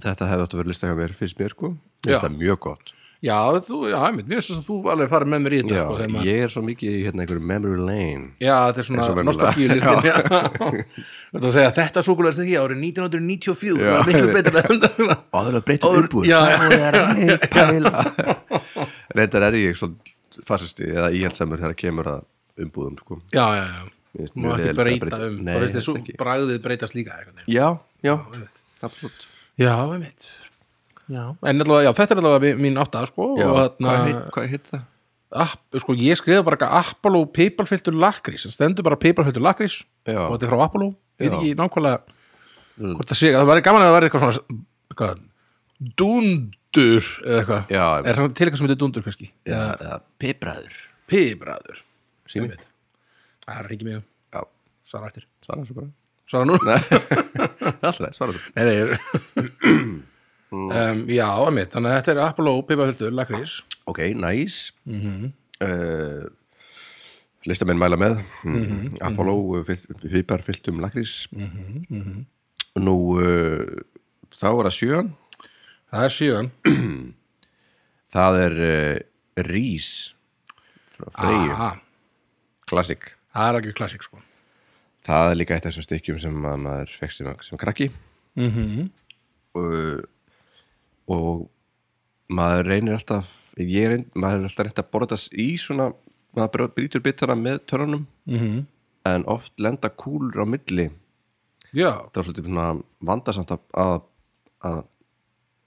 S1: þetta hefði átt að vera lista hjá mér fyrst mér sko, Mér
S2: Já.
S1: finnst það mjög gott
S2: já, þú, já, einmitt, mér finnst þess að þú alveg farið með mér í þetta
S1: Já,
S2: sko, þegar maður-
S1: ég er svo mikið í hérna einhverju memory lane
S2: já,
S1: Eins
S2: þetta er
S1: og
S2: svona
S1: venjulega.
S2: nostalgíulistin þetta að segja, þetta súkulegast ekki árið 1994,
S1: Já.
S2: það er miklu betra en það
S1: Áðurlega breytið
S2: Áður-
S1: umbúð
S2: Já.
S1: Þá er mig pæla Reyndar er ég svo fascisti eða íhaldsamur þegar kemur að umbúðum sko.
S2: já, já, já,
S1: Mér finnst
S2: má
S1: mjög
S2: ekki
S1: leiðilegt að
S2: breyta um
S1: Nei,
S2: þá
S1: þetta
S2: finnst þessu
S1: ekki
S2: bragðið breytast líka eitthvað
S1: Já, já,
S2: einmitt.
S1: absolutt
S2: Já, við mitt já. En allavega, já, þetta er allavega mi- mín átta sko,
S1: já,
S2: og þarna
S1: Hvað heit- hvað heit það?
S2: app, sko, ég skrifa bara eitthvað Apollo piparfiltur lakrís, það stendur bara piparfiltur lakrís
S1: Já.
S2: og þetta er frá Apollo ég veit
S1: Já.
S2: ekki nákvæmlega
S1: Mm.
S2: hvort það sé, það væri gaman að það væri eitthvað svona eitthvað, dundur eða eitthvað,
S1: Já,
S2: er það til eitthvað sem heitir dundur kannski,
S1: já, eða pipraður
S2: pibraður
S1: Sími
S2: Einmitt. það er ekki mjög,
S1: Já,
S2: svara eftir
S1: svara þessu bara
S2: svara nú
S1: Alltaf, leið, svara þessu
S2: Nei, nei, ég-
S1: Mm.
S2: um, já, emitt, þannig að þetta er Apollo piparfiltur lakrís Mhm.
S1: Ok, næs nice. uh, Listamenn mæla með mm Apollo, Fypar, Fyltum, Lakrís mm Nú uh, Þá er það sjöan
S2: það er síðan,
S1: Það er uh, Rís frá Freyju,
S2: aha,
S1: klassik
S2: það er ekki klassik sko
S1: Það er líka eitt af þessum stykkjum sem að maður fekst sem, sem krakki -hmm. og, og maður reynir alltaf ég reynd, maður er alltaf reynd að borða þess í svona maður brá- brýtur bitana með törnunum
S2: Mhm.
S1: en oft lenda kúlur á milli
S2: já,
S1: það er svolítið svona vandasamt að, að, að,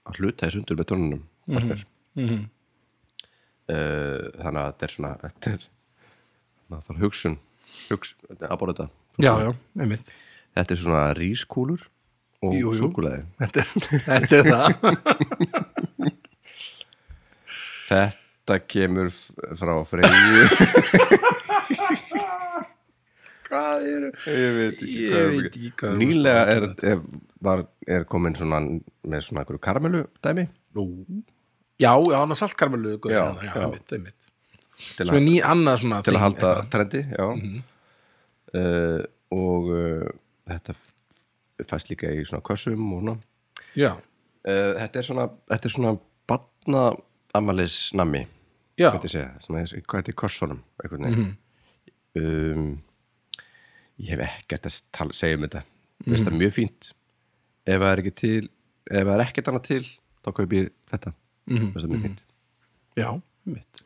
S1: að hluta þess undur með törnunum mm -hmm. Eh, þannig að þetta er svona þetta er maður þarf hugsun, hugsun að borða þetta
S2: já, já, einmitt
S1: Þetta er svona rískúlur og
S2: Jú, jú.
S1: súkkulaði.
S2: Þetta er, þetta er það
S1: Þetta kemur f- frá Freyju.
S2: Hvað eru?
S1: ég veit ekki
S2: Ég
S1: hvað.
S2: veit ekki hvað er-
S1: Nýlega er, er, var, er komin svona með svona einhverju karmelu dæmi.
S2: Nú Já, já, hann er saltkarmelu Já,
S1: Já,
S2: já,
S1: já.
S2: einmitt, einmitt
S1: Til
S2: Svo er
S1: að,
S2: ný annað svona
S1: til
S2: þing,
S1: að halda
S2: eitthvað.
S1: trendi, já. Mhm. uh, og uh, þetta f- fæst líka í svona kössum og svona.
S2: Já,
S1: Uh, þetta er svona, þetta er svona batna amalisnami.
S2: já, Mhm.
S1: hvað þetta segja, svona, eins- hvað þetta er kursornum einhvern veginn um, ég hef ekkert að tala, segja um þetta mm. veist það
S2: Mhm.
S1: mjög fínt ef það er ekki til ef það er ekkert annað til, þá kaup ég þetta mm. veist það mjög fínt
S2: Mhm. já, einmitt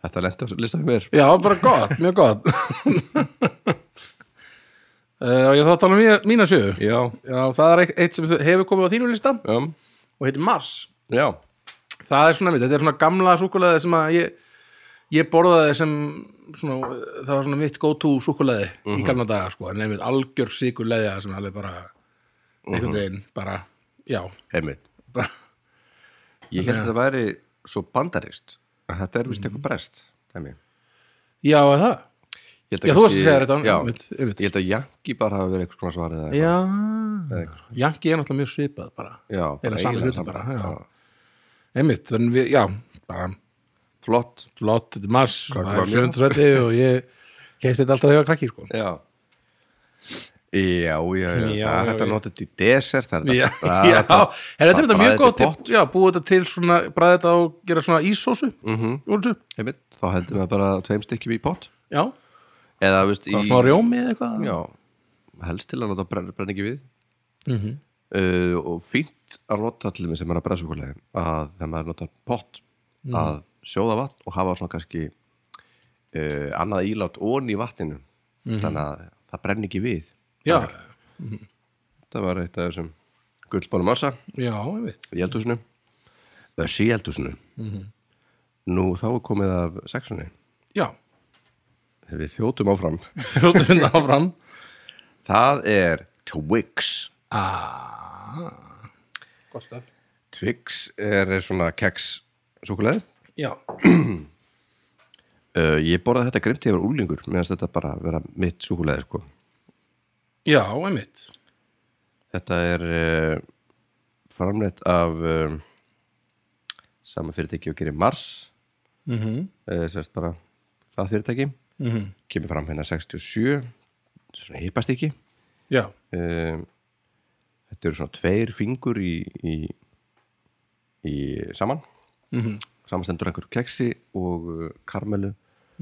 S1: þetta lenti á lista fyrir mér
S2: Já, bara gott, mjög gott Eh, Og ég þá að tala um mína, mína sjöu
S1: já,
S2: Já, það er eitt- eitt sem hefur komið á þínum lista
S1: um,
S2: og heitir Mars
S1: já,
S2: það er svona mitt, þetta er svona gamla súkulaði sem að ég, ég borðaði sem svona, það var svona mitt go-to súkulaði í gamla daga sko, en einmitt algjör síkuleðja sem alveg bara einhvern veginn, bara, já
S1: einmitt
S2: bara,
S1: Ég held að það væri svo bandarist að þetta er vist
S2: Mhm.
S1: eitthvað brest dæmi.
S2: já, er það
S1: Ég held
S2: Já, þú varst að segja þetta,
S1: Já,
S2: einmitt, einmitt.
S1: ég held að Janki bara hafa verið eitthvað svona svarið eða-
S2: já,
S1: eða eitthvað.
S2: Janki er náttúrulega mjög svipað bara,
S1: Já,
S2: Eiginlega sami
S1: eiginlega
S2: hlutur
S1: sama.
S2: bara, já.
S1: Já.
S2: einmitt þannig við, já, bara
S1: Flott
S2: flott, þetta er mars,
S1: Hvað var
S2: það er
S1: mér?
S2: sjöndrætti og ég keist þetta alltaf þegar ég var krakki, sko
S1: Já Já, já, já, það
S2: Já,
S1: er
S2: já,
S1: hægt að
S2: já.
S1: nota þetta í desert það er
S2: Já,
S1: hægt að-
S2: já,
S1: það er
S2: en þetta er þetta mjög
S1: bragðið
S2: góð
S1: í
S2: til, já, búið þetta til svona, bræði þetta og gera svona ísósu mm -hmm.
S1: Einmitt, þá hendur það bara tveim stykkjum í pott
S2: já,
S1: eða veist í
S2: bara smá rjómi eða eitthvað
S1: já, helst til að nota brenn, brenn ekki við
S2: Mhm.
S1: uh, og fínt að nota til þeim sem er að brennsúkulega að þegar maður notar pott
S2: Mhm.
S1: að sjóða vatn og hafa svona kannski uh, annað ílát ón í vatninu
S2: Mhm.
S1: þannig að það brenn ekki við
S2: já,
S1: það var eitt af þessum gullbónum massa
S2: já, ég veit
S1: í eldhúsinu það sé í eldhúsinu nú þá er komið af sexunni
S2: já,
S1: við þjótum áfram
S2: þjóttum við áfram
S1: það er Twix
S2: aaaah gott staf
S1: Twix er svona keks súkuleði
S2: já,
S1: uh, ég borðaði þetta grimt yfir úlingur meðan þetta bara vera mitt súkuleði sko.
S2: já, ég veit
S1: þetta er uh, framleitt af uh, sama fyrirtæki og gerir Mars uh, sérst bara það fyrirtæki kemur fram hérna 67 svona hipast ekki
S2: já,
S1: um, þetta eru svona tveir fingur í, í, í saman
S2: Mhm.
S1: samanstendur einhver keksi og uh, karmelu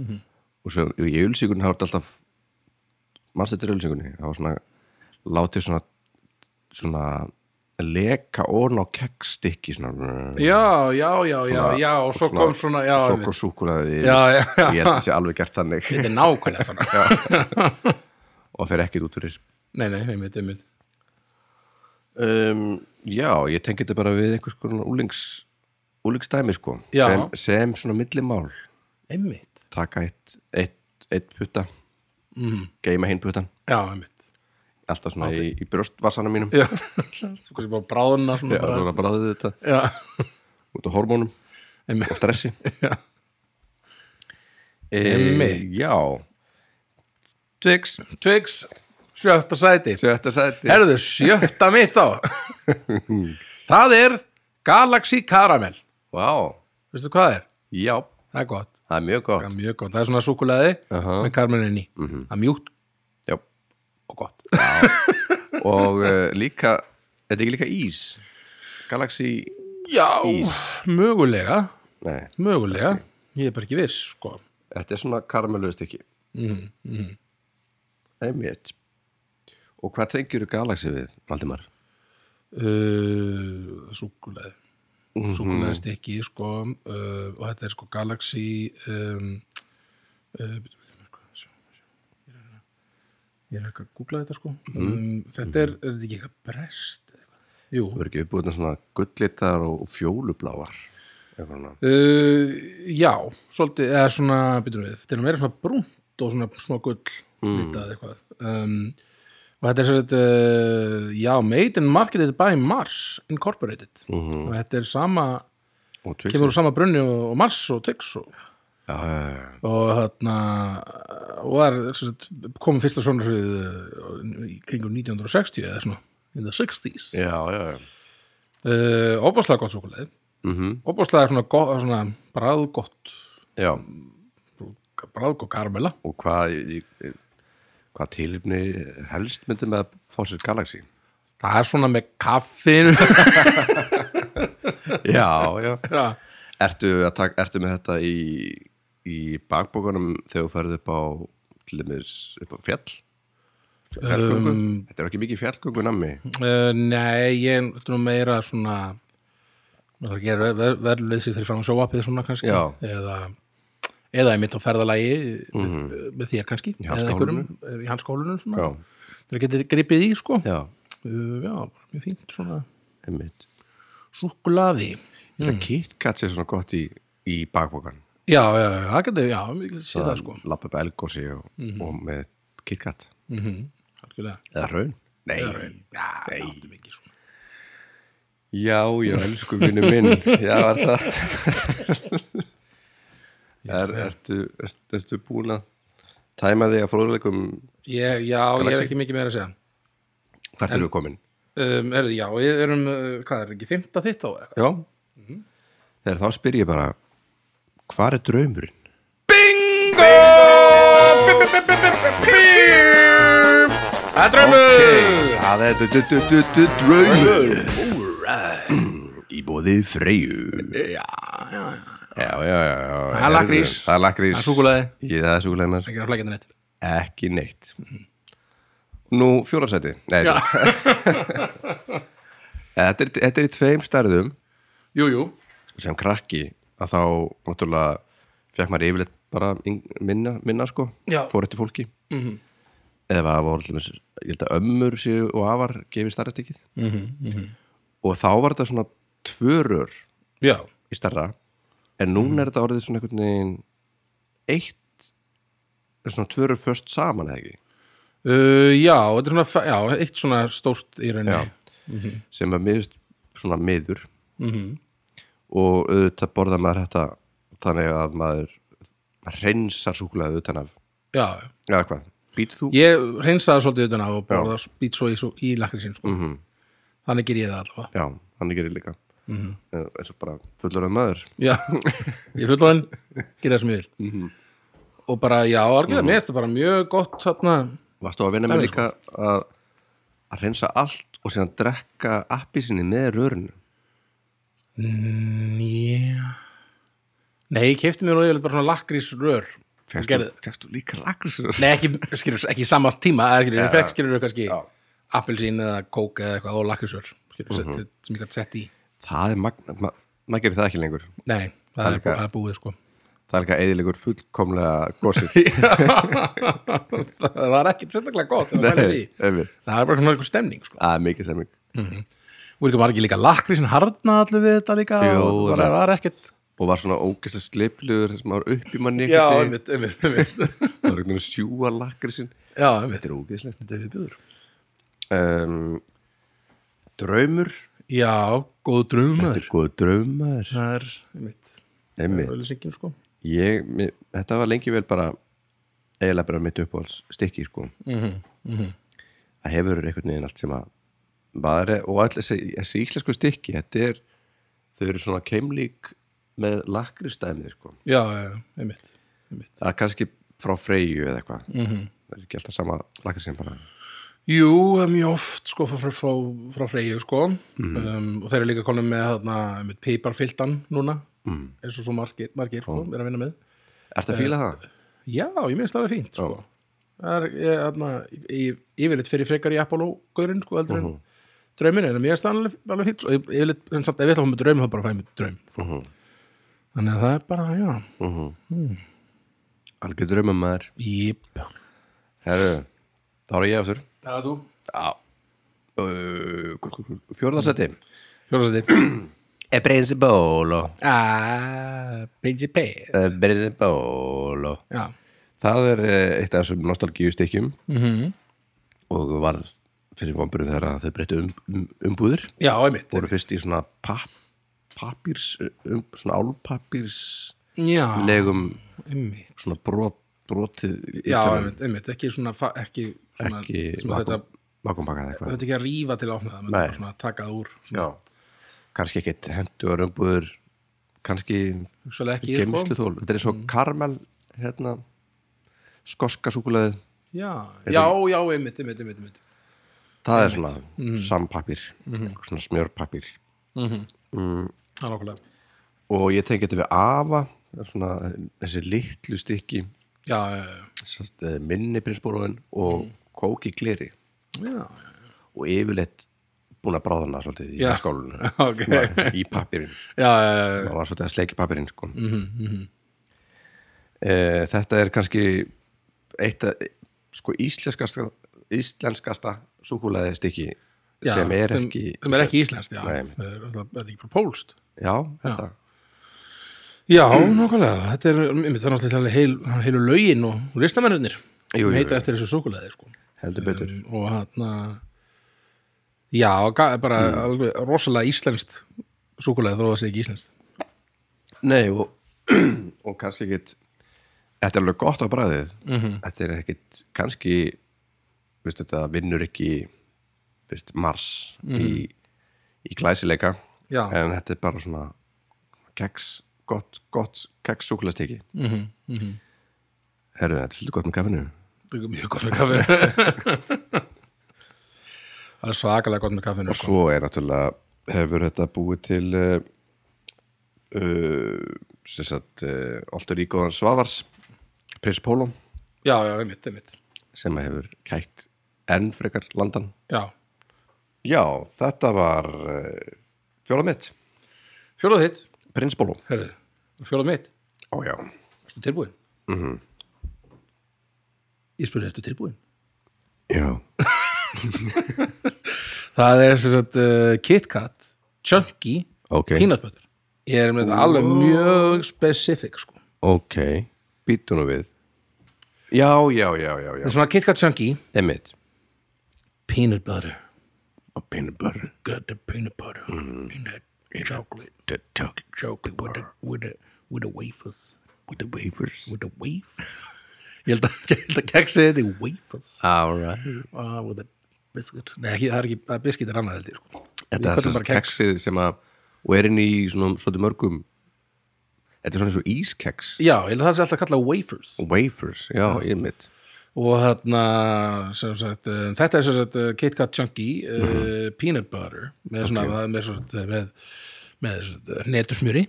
S2: Mhm.
S1: og svo í ölsíkunni hafa þetta alltaf mannst þetta er ölsíkunni hafa svona látið svona svona leka orn á keksstykki svona
S2: já, já, já, já,
S1: Svona-
S2: já og svo
S1: svona-
S2: kom svona, já,
S1: svo
S2: ég
S1: kom
S2: veit
S1: súkulaði
S2: já, já, já,
S1: ég held að sé alveg gert þannig
S2: þetta er nákvæmlega svona
S1: og fer ekkert út fyrir
S2: nei, nei, ég veit, ég veit
S1: Um, já, ég tengi þetta bara við einhvers konar úlings, úlingsdæmi sko
S2: Já.
S1: sem, sem svona millimál
S2: einmitt,
S1: taka eitt, eitt, eitt putta mm. geima hinn puttan
S2: já, einmitt
S1: alltaf svona í, í brjóstvassanum mínum
S2: já, svo kannski bara bráðuna svona
S1: já,
S2: bara,
S1: svona bræðið þetta
S2: já,
S1: út af hormónum
S2: Einmitt.
S1: og stressi
S2: já
S1: e,
S2: Einmitt.
S1: Já Twix
S2: Twix, sjötta sæti
S1: Þetta sæti
S2: Herðu, sjötta mitt þá Það er Galaxy Caramel
S1: Vá,
S2: Veistu hvað það er?
S1: já,
S2: Það er gott,
S1: það er mjög
S2: það
S1: gott
S2: er mjög gott Það er svona súkulaði
S1: Aha.
S2: með karamellinni í Það er mjúkt
S1: já.
S2: og gott
S1: Og uh, líka, þetta er ekki líka ís Galaxy,
S2: Já,
S1: Ís.
S2: mögulega
S1: nei
S2: Mögulega, ég er bara ekki viss sko.
S1: Þetta er svona karamelluðist ekki mm, mm. Einmitt Og hvað tengjur Galaxy við, Valdimar?
S2: uh, Súkulaði Súkulaði stikki sko, uh, og þetta er sko Galaxy um, uh, bíddu, bíddu, bíddu, hvað- sjá, sjá, ég er að- Ég er ekki að googla þetta sko um, Þetta er, er þetta ekki eitthvað brest? eða eitthvað? Jú,
S1: Þú er ekki uppbúðna svona gullitar og og fjólubláar Eitthvað svona.
S2: Uh, já, svolítið, eða svona, býtum við, þetta er nú meira svona brúnt og svona smá gull litað eitthvað. Um, og þetta er svolítið, uh, já, made and marketed by Mars Incorporated. Og þetta er sama,
S1: Og Twix
S2: kemur úr sama brunni og, og Mars og Twix og,
S1: Já, já, já.
S2: og þarna, og er svolítið, komið fyrsta svona hrið í kringum 1960 eða svona, in the 60s.
S1: já, já, já.
S2: Uh, Óbáslega gott svokuleið,
S1: Mhm.
S2: óbáslega svona, gott, svona bræðgott
S1: já.
S2: bræðg og karamella
S1: Og hvað í- í- hvað tilifni helst myndum að fá sér Galaxy
S2: það er svona með kaffinu
S1: Já, já
S2: já,
S1: Ertu, að tak, ertu með þetta í, í bakbókunum þegar þú ferð upp á til dæmis upp á fjall fjallgöngu? þetta er ekki mikið fjallgöngu nammi
S2: uh, nei, ég þetta er nú meira svona maður þarf að gera verðleysi fyrir fram sjóapið svona kannski
S1: Já.
S2: eða eða einmitt á ferðalagi eh, með þér kannski eða
S1: handskólanum.
S2: einhverjum, eh, í hanskólunum svona
S1: Mhm. Já,
S2: þeir getið gripið í sko
S1: já,
S2: uh, já, bara mjög fínt svona
S1: einmitt
S2: súkulaði
S1: Þetta mm. KitKat sé svona gott í, í bakbókan
S2: já, já, já, það getur, já, ég get séð það sko
S1: Lappa upp elgósi og, og með KitKat Mhm.
S2: algjörlega,
S1: Eða raun? Nei,
S2: það er já, áttu mikið sko. svona
S1: Já, já, elsku vinnu minn Já, er það er, ertu, ertu, ertu búin að tæma þig að fróðleikum
S2: ég, já, ég er ekki mikið meira að segja
S1: hvert er við komin?
S2: um, er, já, ég erum, uh, hvað er ekki, fymta þitt á eitthvað
S1: Já
S2: Mhm.
S1: Þegar þá spyr ég bara Hvar er draumurinn?
S2: Það er drömmur!
S1: Það er du- du- du- du- du- draumur Í bóði freyju
S2: Já, já, já
S1: Já, já, já, já
S2: Það er lakrís.
S1: Það er lakrís
S2: Það er súkkulaði.
S1: Ég- Það er súkulæði með
S2: Ekki að flækja þetta neitt
S1: ekki neitt Nú, fjórarsæti Nei,
S2: Mhm. Já.
S1: þetta, er, þetta er í tveim stærðum
S2: Jú, jú
S1: sem krakki að þá náttúrulega fekk maður yfirleitt bara yng- minna, minna sko,
S2: Já.
S1: fór eftir fólki mm -hmm. eða það voru allir ég held að ömmur séu og afar gefið stærra stykkið -hmm. og þá var þetta svona tvörur
S2: Já,
S1: í stærra en núna er þetta orðið svona einhvern veginn eitt svona tvörur först saman eða ekki
S2: uh, já, þetta er svona, fa- já, eitt svona stórt í rauninni
S1: Já. sem er miðust svona miður
S2: Mhm.
S1: og auðvitað borða maður þetta þannig að maður maður reynsar súkulaði utan af
S2: já
S1: eða hvað, být þú?
S2: Ég reynsaði svolítið utan á og borða být svo í, svo í lakrísin sko.
S1: Mhm.
S2: Þannig ger ég það allavega
S1: Já, hann gerir líka mm
S2: Mhm.
S1: -hmm. eins og bara fullur af maður
S2: Já, ég fulla hann, gera það sem ég vil Og bara, já, algjörlega, mér finnst það bara mjög gott þarna
S1: Varstu að vinna með líka að að reynsa allt og síðan drekka appi sinni með rörinu
S2: Mm, yeah. Nei, ég kefti mér nú yfirleitt bara svona lakrísrör
S1: Fékkstu-
S2: Gerðu-
S1: Fékkstu líka lagrisrör?
S2: Nei, ekki, skilur, ekki í sama tíma eða skilur, ég fekk skilur kannski
S1: Já.
S2: appelsín eða kók eða eitthvað og lakkisör skilur, mm
S1: Mhm.
S2: sem ég gætt sett í
S1: Það er magna, ma maður gerir það ekki lengur
S2: Nei, það er,
S1: líka-
S2: bú, það er búið sko
S1: Það er líka eðilegur fullkomlega gósið
S2: Það var ekkit sérstaklega gott ef maður pælir í.
S1: Nei, einmitt.
S2: Það er bara svona einhver stemning sko.
S1: Það er mikið sem mikið
S2: og líka margir líka lakrísin harna allir við þetta líka
S1: Jú,
S2: og það
S1: það-
S2: var ekkit
S1: og var svona ógæslega sleplugur sem var upp í manni
S2: Já,
S1: einhvern veginn.
S2: einmitt, einmitt, einmitt.
S1: það var einhvern veginn að sjúa lakrisinn
S2: Já, einmitt.
S1: þetta er ógæslegt þetta er viðbjöður um, draumur
S2: Já, góð drumar
S1: þetta er góð draumar
S2: Það er, einmitt,
S1: Einmitt.
S2: öllisingin sko
S1: ég, mér, þetta var lengi vel bara eiginlega bara mitt uppáhalds stikki sko
S2: Mhm.
S1: það hefur einhvern veginn allt sem að bara, og allir þessi, þessi íslensku stikki þetta er, þau eru svona keimlík með lakristæmið sko
S2: Já, já, já, einmitt, einmitt.
S1: það er kannski frá Freyju eða eitthvað -hmm. það er ekki alltaf sama lakristæm bara
S2: Jú, það er mjög oft sko frá, frá, frá Freyju sko um, og þeir eru líka konum með þarna með piparfiltan núna mm. eins og svo margir, margir sko, er að vinna með
S1: Ertu að fíla það?
S2: Já, ég minnst það er fínt sko. það er ég, þarna, ég, yfirleitt fyrir frekar í Apollo-gaurinn sko, heldur en drauminu, en mér er það alveg, alveg fínt sko. Ég- yfirleitt, en samt, ef ég ætla að fá með draum þá bara fæ ég með draum sko.
S1: mhm.
S2: þannig að það er bara, já,
S1: Algjör draumum maður
S2: jip
S1: Herru, þá er ég aftur
S2: Það er þú
S1: Já Fjórðarsetti
S2: Fjóðarsætti
S1: E principolo
S2: Ah, PGP
S1: E principolo
S2: Já,
S1: Það er eh, eitt af þessum nostalgíu stykkjum -hmm.
S2: Mhm.
S1: og var fyrir vomburum þegar þau breyttu um, um, umbúðir
S2: já, einmitt
S1: voru fyrst í svona papp pappírs, um, svona álpappírs
S2: Já,
S1: legum
S2: einmitt
S1: svona brot, brotið
S2: Já, einmitt, einmitt, ekki svona fa- ekki, svona,
S1: ekki
S2: svona þetta,
S1: makumpakað eitthvað
S2: þetta ekki að rífa til að opna það, menn
S1: Nei.
S2: bara svona að taka það úr svona,
S1: Já, kannski ekkit hendur og umbúður kannski
S2: hugsalega ekki, sko.
S1: geimslu þól þetta er svo karmel hérna, skoska súkuleði
S2: sko já, já, já, einmitt, einmitt, einmitt, einmitt.
S1: það er svona mm. sampapir svona smjörpapir
S2: Mhm.
S1: Mm.
S2: Það er okkurlega
S1: og ég tengi þetta við afa það er svona þessi litlu stykki
S2: Já, já, já,
S1: sest, eh, minni prinsbólóin og mm. kóki gleri
S2: já,
S1: og yfirleitt búin að bráðana svolítið í
S2: Já.
S1: skólinu
S2: ok Já,
S1: í papirinn
S2: já, já, já,
S1: maður var svolítið að sleiki papirinn sko. mm
S2: Mhm,
S1: þetta er kannski eitt að sko íslenskasta íslenskasta súkulæði stykki
S2: já
S1: sem er
S2: sem,
S1: ekki
S2: sem er ekki íslenskt, já,
S1: Nei.
S2: sem er, það, það er ekki bara pólst
S1: já, þetta
S2: Já, nokkulega, þetta er einmitt, það er náttúrulega heil, hann heilu lögin og listamennir
S1: Jú, jú,
S2: heita
S1: jú.
S2: eftir þessu súkulæði sko.
S1: heldur betur
S2: um, og hann já, og ga- bara alveg rosalega íslenskt súkulæði þó að það sé ekki íslenskt
S1: Nei og, og kannski ekkit Þetta er alveg gott á bræðið
S2: Mhm.
S1: Þetta er ekkit kannski veist, þetta vinnur ekki veist, mars í, í glæsileika
S2: Mhm. Já.
S1: en þetta er bara svona keks, gott, gott keks súkulastiki mm -hmm.
S2: Mhm,
S1: Herru, þetta er svolítið gott með kaffinu
S2: Það er mjög gott með kaffinu Það er svakalega gott með kaffinu sko.
S1: Svo er náttúrulega hefur þetta búið til uh, uh, sem sagt uh, Altur Ígóðan Svavars Prins Pólum
S2: Já, já, einmitt, einmitt
S1: sem að hefur kækt enn frekar landan.
S2: Já,
S1: Já, þetta var uh, fjólað mitt,
S2: fjólað þitt,
S1: prinsbólum.
S2: herðu Fjólað mitt,
S1: Ó já,
S2: ertu tilbúin? Mm -hmm. Ég spurði, ertu tilbúin?
S1: já,
S2: Það er sem sagt uh, KitKat, Chunky,
S1: ok,
S2: Peanut Butter Ég er með þetta alveg mjög specific sko.
S1: ok, býtu nú við. Já, já, já, já,
S2: Það
S1: já,
S2: er svona KitKat, Chunky,
S1: emitt.
S2: Peanut Butter
S1: Og peanut butter,
S2: Got the peanut butter Mm. in that chocolate
S1: the talking
S2: chocolate with the, with, the, with the wafers
S1: with the wafers.
S2: with the wafers ég held að, ég held að keksi þetta í wafers
S1: All right.
S2: uh, with the biscuit nei, ekki, það er ekki, að biscuit er annað held ég sko.
S1: Þetta er
S2: köllum
S1: þess
S2: bara
S1: að
S2: kex.
S1: keksið sem að, og er inn í svona, svona mörgum, þetta er svona eins og ískeks.
S2: já, ég held að það sé alltaf kallað wafers
S1: Wafers, já, emitt.
S2: og þarna sem sagt, uh, þetta er sem sagt uh, KitKat Chunky uh, peanut butter með svona, okay. með, svona, með, með, með sem sagt, uh, netusmjöri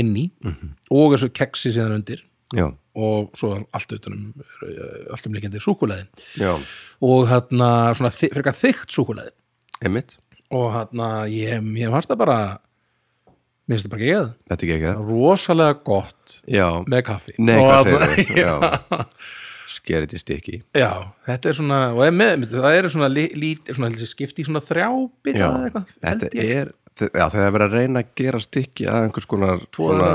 S2: inn í og þessu keksi síðan undir
S1: Já,
S2: og svo allt utanum uh, allt um líkjandi súkulæði
S1: já,
S2: og þarna svona þy- frekar þykkt súkulæði
S1: emitt.
S2: og hann að ég, ég fannst það bara mér finnst það bara geð
S1: Þetta er ekki ekki það.
S2: rosalega gott
S1: Já,
S2: með kaffi
S1: Nei,
S2: og
S1: hvað
S2: þarna-
S1: segir þú? Sker þetta í stykki
S2: já, þetta er svona og er með, það eru svona, lí, lí, svona þessi skipti í svona þrjá bita eða eitthvað,
S1: þetta
S2: held ég.
S1: er já, það er verið að reyna að gera stykki að einhvers konar svona,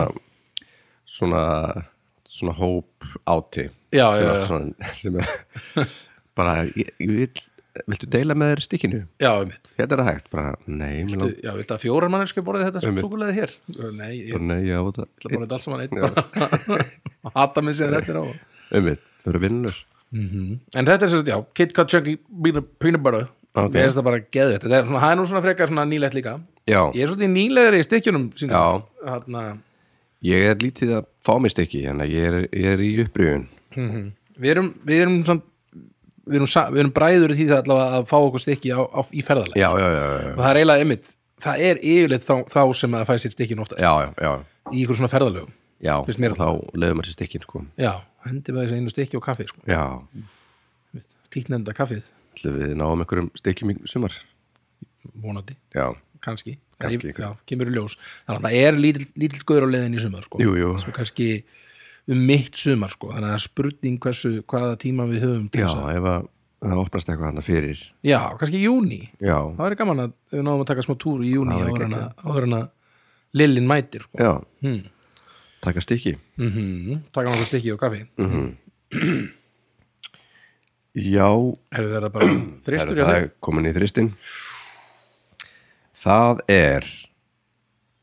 S1: svona svona hóp áti
S2: Já,
S1: sem, að
S2: já, já.
S1: Svona, sem er bara ég, ég vil viltu deila með þér stykkinu?
S2: já, einmitt
S1: Hérna er það hægt, bara nei, mér langar
S2: já, viltu að fjórar manneski borðið þetta sem
S1: Einmitt.
S2: súkulegði hér nei, ég
S1: bara nei, já, þetta
S2: ætla bara þetta alls saman einn bara. hata mig sér þetta á
S1: Einmitt, það eru vinnlaus
S2: en þetta er sérst, já, Kit Kat Chunky peanut peanut butter
S1: Ok.
S2: mér finnst það bara geðið þetta er svona- það er nú svona frekar svona nýlegt líka
S1: Já,
S2: ég er svolítið nýlegri í stykkjunum
S1: já,
S2: hann að
S1: ég er lítið að fá mér stykki en ég er, ég er í upprýðun
S2: Við erum, við erum, samt, við erum, sa- við erum bræður í því það allavega að fá okkur stykki á, á, í ferðalega
S1: Já, já, já, já,
S2: og það er eiginlega einmitt, það er yfirleitt þá, þá sem að fæ sér stykkin oftast
S1: já, já, já.
S2: í ykkur svona ferðalögum
S1: Já,
S2: Finnst mér
S1: og þá leiðum maður sér stykkin sko
S2: Já, hendi með þessi einu stykki og kaffi sko.
S1: Já,
S2: Tíknenda kaffið,
S1: ætlum við náum einhverjum stykkjum í sumar
S2: vonandi,
S1: Já,
S2: kannski
S1: Kannski
S2: Það er-
S1: ykkur.
S2: Já, kemur í ljós Þannig að það er lítill lítil guður á leiðin í sumar sko.
S1: jú, jú
S2: Svo kannski um mitt sumar sko. þannig að það er spurning hversu, hvaða tíma við höfum til
S1: Já,
S2: þess að-
S1: ef að það opnast eitthvað hana fyrir
S2: Já, kannski í júni
S1: Já,
S2: það væri gaman að við náðum að taka smá túr í júni
S1: Það væri
S2: áður en að- áður en að Lillin mætir sko.
S1: já,
S2: hmm.
S1: taka stykki
S2: mm taka nokkuð stykki og kaffi
S1: Mm. Já,
S2: er þetta bara
S1: er
S2: þristur hjá
S1: það
S2: þér
S1: er komin í þristin Það er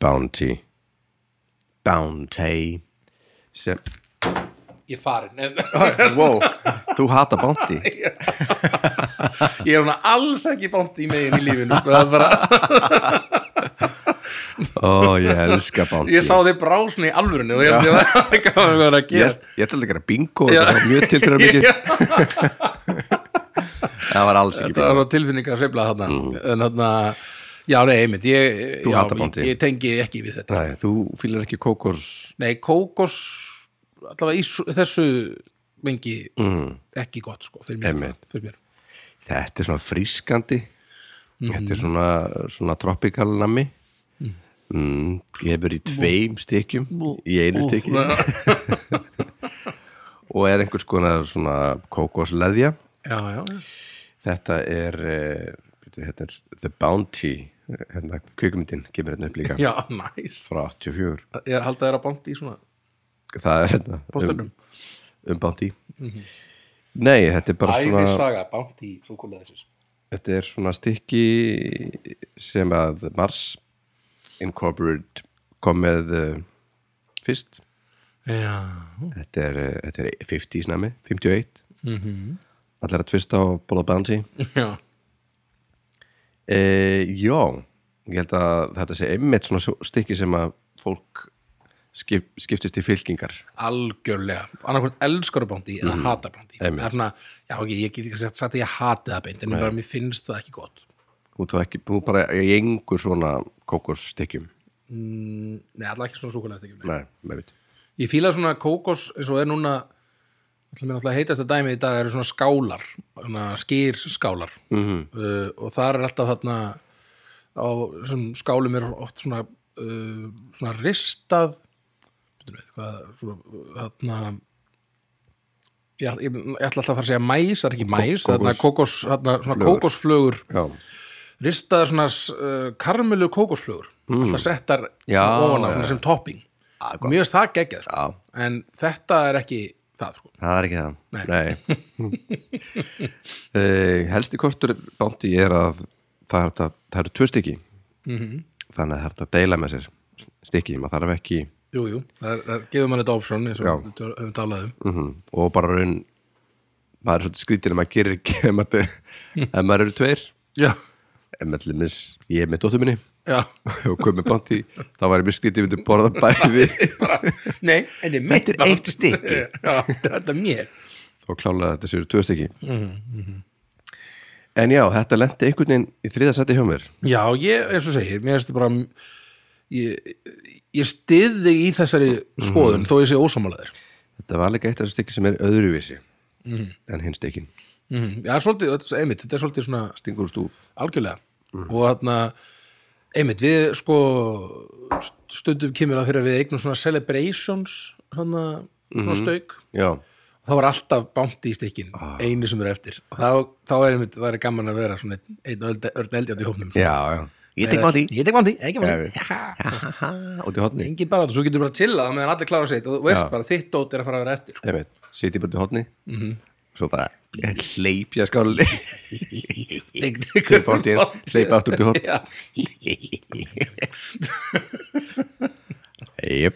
S1: Bounty Bounty sem,
S2: ég er farin,
S1: Wow, þú hata Bounty
S2: ég er hún alls ekki bónt í megin í lífinu sko. það er bara,
S1: Ó, ég elska Bounty
S2: ég sá þig brásni í alvörunni og ég held ég var ekki að vera að
S1: Ég,
S2: gera
S1: ég ætlaði að gera bingo þetta var mjög tilgjöra mikið Það var alls ekki
S2: það var svo tilfinningar að sveifla þarna en þarna, já nei, einmitt ég,
S1: Mm. Þú
S2: já,
S1: hatar
S2: ég,
S1: Bounty.
S2: ég tengi ekki við þetta
S1: Nei, þú fýlar ekki kókors
S2: nei, kókos allavega í s- þessu mengi
S1: mm.
S2: ekki gott sko, fyrir mér,
S1: Einmitt.
S2: allavega, fyrir mér.
S1: Þetta er svona frískandi
S2: Mhm.
S1: Þetta er svona, svona tropical nami mm. Ég hefur í tveim stykkjum Í einu stykki Og er einhvers konar svona kókorsleðja
S2: já, já, já
S1: Þetta er, eh, byrju, hérna er The Bounty hérna, kvikmyndin kemur hérna upp líka
S2: já, næs
S1: frá 84
S2: ég held að það er að bánt í svona
S1: það er hérna um,
S2: bóstöldum
S1: um Bounty nei, þetta er bara Um, svona
S2: saga, bánt í súkuleðisins
S1: þetta er svona stykki sem að Mars Incorporated kom með uh, fyrst
S2: já,
S1: þetta er, uh, þetta er 50 snæmi, 58
S2: mm
S1: allir að tvista á Bola Bounty
S2: já.
S1: E, já, ég held að þetta sé einmitt svona svo- stykki sem að fólk skip, skiptist í fylkingar.
S2: algjörlega, annarkvæmt elskar bánt í eða hatar bánt í
S1: Mm. Einmitt.
S2: það er svona, já ok, ég get ekki sagt, sagt að ég hati það beint en bara mér finnst það ekki gott
S1: Þú ert þá ekki, þú bara í engu svona kókosstykkjum.
S2: mm, nei, alltaf ekki svona súkuleðistekjum
S1: Nei, með veit.
S2: Ég fíla svona kókos eins og er núna ætlum mér náttúrulega heitast að dæmi í dag eru svona skálar, svona skýr skálar
S1: Mhm.
S2: -hmm. uh, og þar er alltaf þarna á sem skálum er oft svona uh, svona ristað veitum við hvað svona, þarna ég, ætl- ég, ég ætla alltaf að fara að segja mæs, það er ekki mæs
S1: kókos-
S2: þarna kókos, þarna svona
S1: flögur.
S2: kókosflögur
S1: Já,
S2: ristaðar svona uh, karmelu kókosflögur alltaf settar
S1: Mm. Já, já,
S2: svona ofan á svona
S1: já. Ah,
S2: sem topping mjög veist það geggjað sko.
S1: já,
S2: en þetta er ekki það sko.
S1: það er ekki það. Nei.
S2: Nei.
S1: e, helsti kostur bánti er að það, er, hægt að, það eru tvö stykki. -hmm. Þannig að það er hægt að deila með sér stykki, maður þarf ekki...
S2: jú, jú, það, er- það gefur mann þetta option eins
S1: Já.
S2: og við töl- höfum talað um
S1: mm og bara raun maður er svolítið skrítin að maður gerir ekki ef maður, ef maður eru tveir
S2: já,
S1: ef maður til dæmis, ég er með dóttur minni
S2: já
S1: og komið bátt í, þá var ég mjög skrítið ég myndi borða bæði
S2: nei, en er mitt
S1: Þetta er
S2: barn.
S1: eitt stykki.
S2: já, þetta er mér
S1: og klálega þessi eru tvö stykki en já, þetta lendi einhvern veginn í þriða seti hjá mér
S2: já, ég, eins og segir, mér finnst þetta bara ég, ég stið þig í þessari
S1: Mm.
S2: skoðun þó ég sé ósámálaðir
S1: þetta var líka eitt af þessu stykki sem er öðruvísi en hinn stykkin
S2: mm. já, svolítið, þetta er- einmitt, þetta er svolítið svona
S1: stingur úr stúf Mm.
S2: algjörlega og þarna einmitt við sko st- stundum kemur að þegar við eignum svona celebrations hana, svona
S1: Mhm.
S2: stauk
S1: já,
S2: þá var alltaf bánti í stikkin
S1: Ah.
S2: einu sem eru eftir og þá, þá er einmitt, það er gaman að vera svona einn, einn ölde- örn eldjátt í hópnum
S1: já, já ég tek bátt í
S2: ég tek bánti, ekki
S1: Já, við-
S2: bánti ja,
S1: út í hotni
S2: engin bara og svo getur bara chillað á meðan allir klára sitt og þú veist
S1: Já.
S2: bara þitt dót er að fara að vera eftir sko.
S1: sitja bara út í hotni
S2: Mhm.
S1: svo bara hleypja skáli
S2: Tek- tek-
S1: Hleypa bánt í hotn, hleypa aftur út í hotn
S2: Já.
S1: Jep.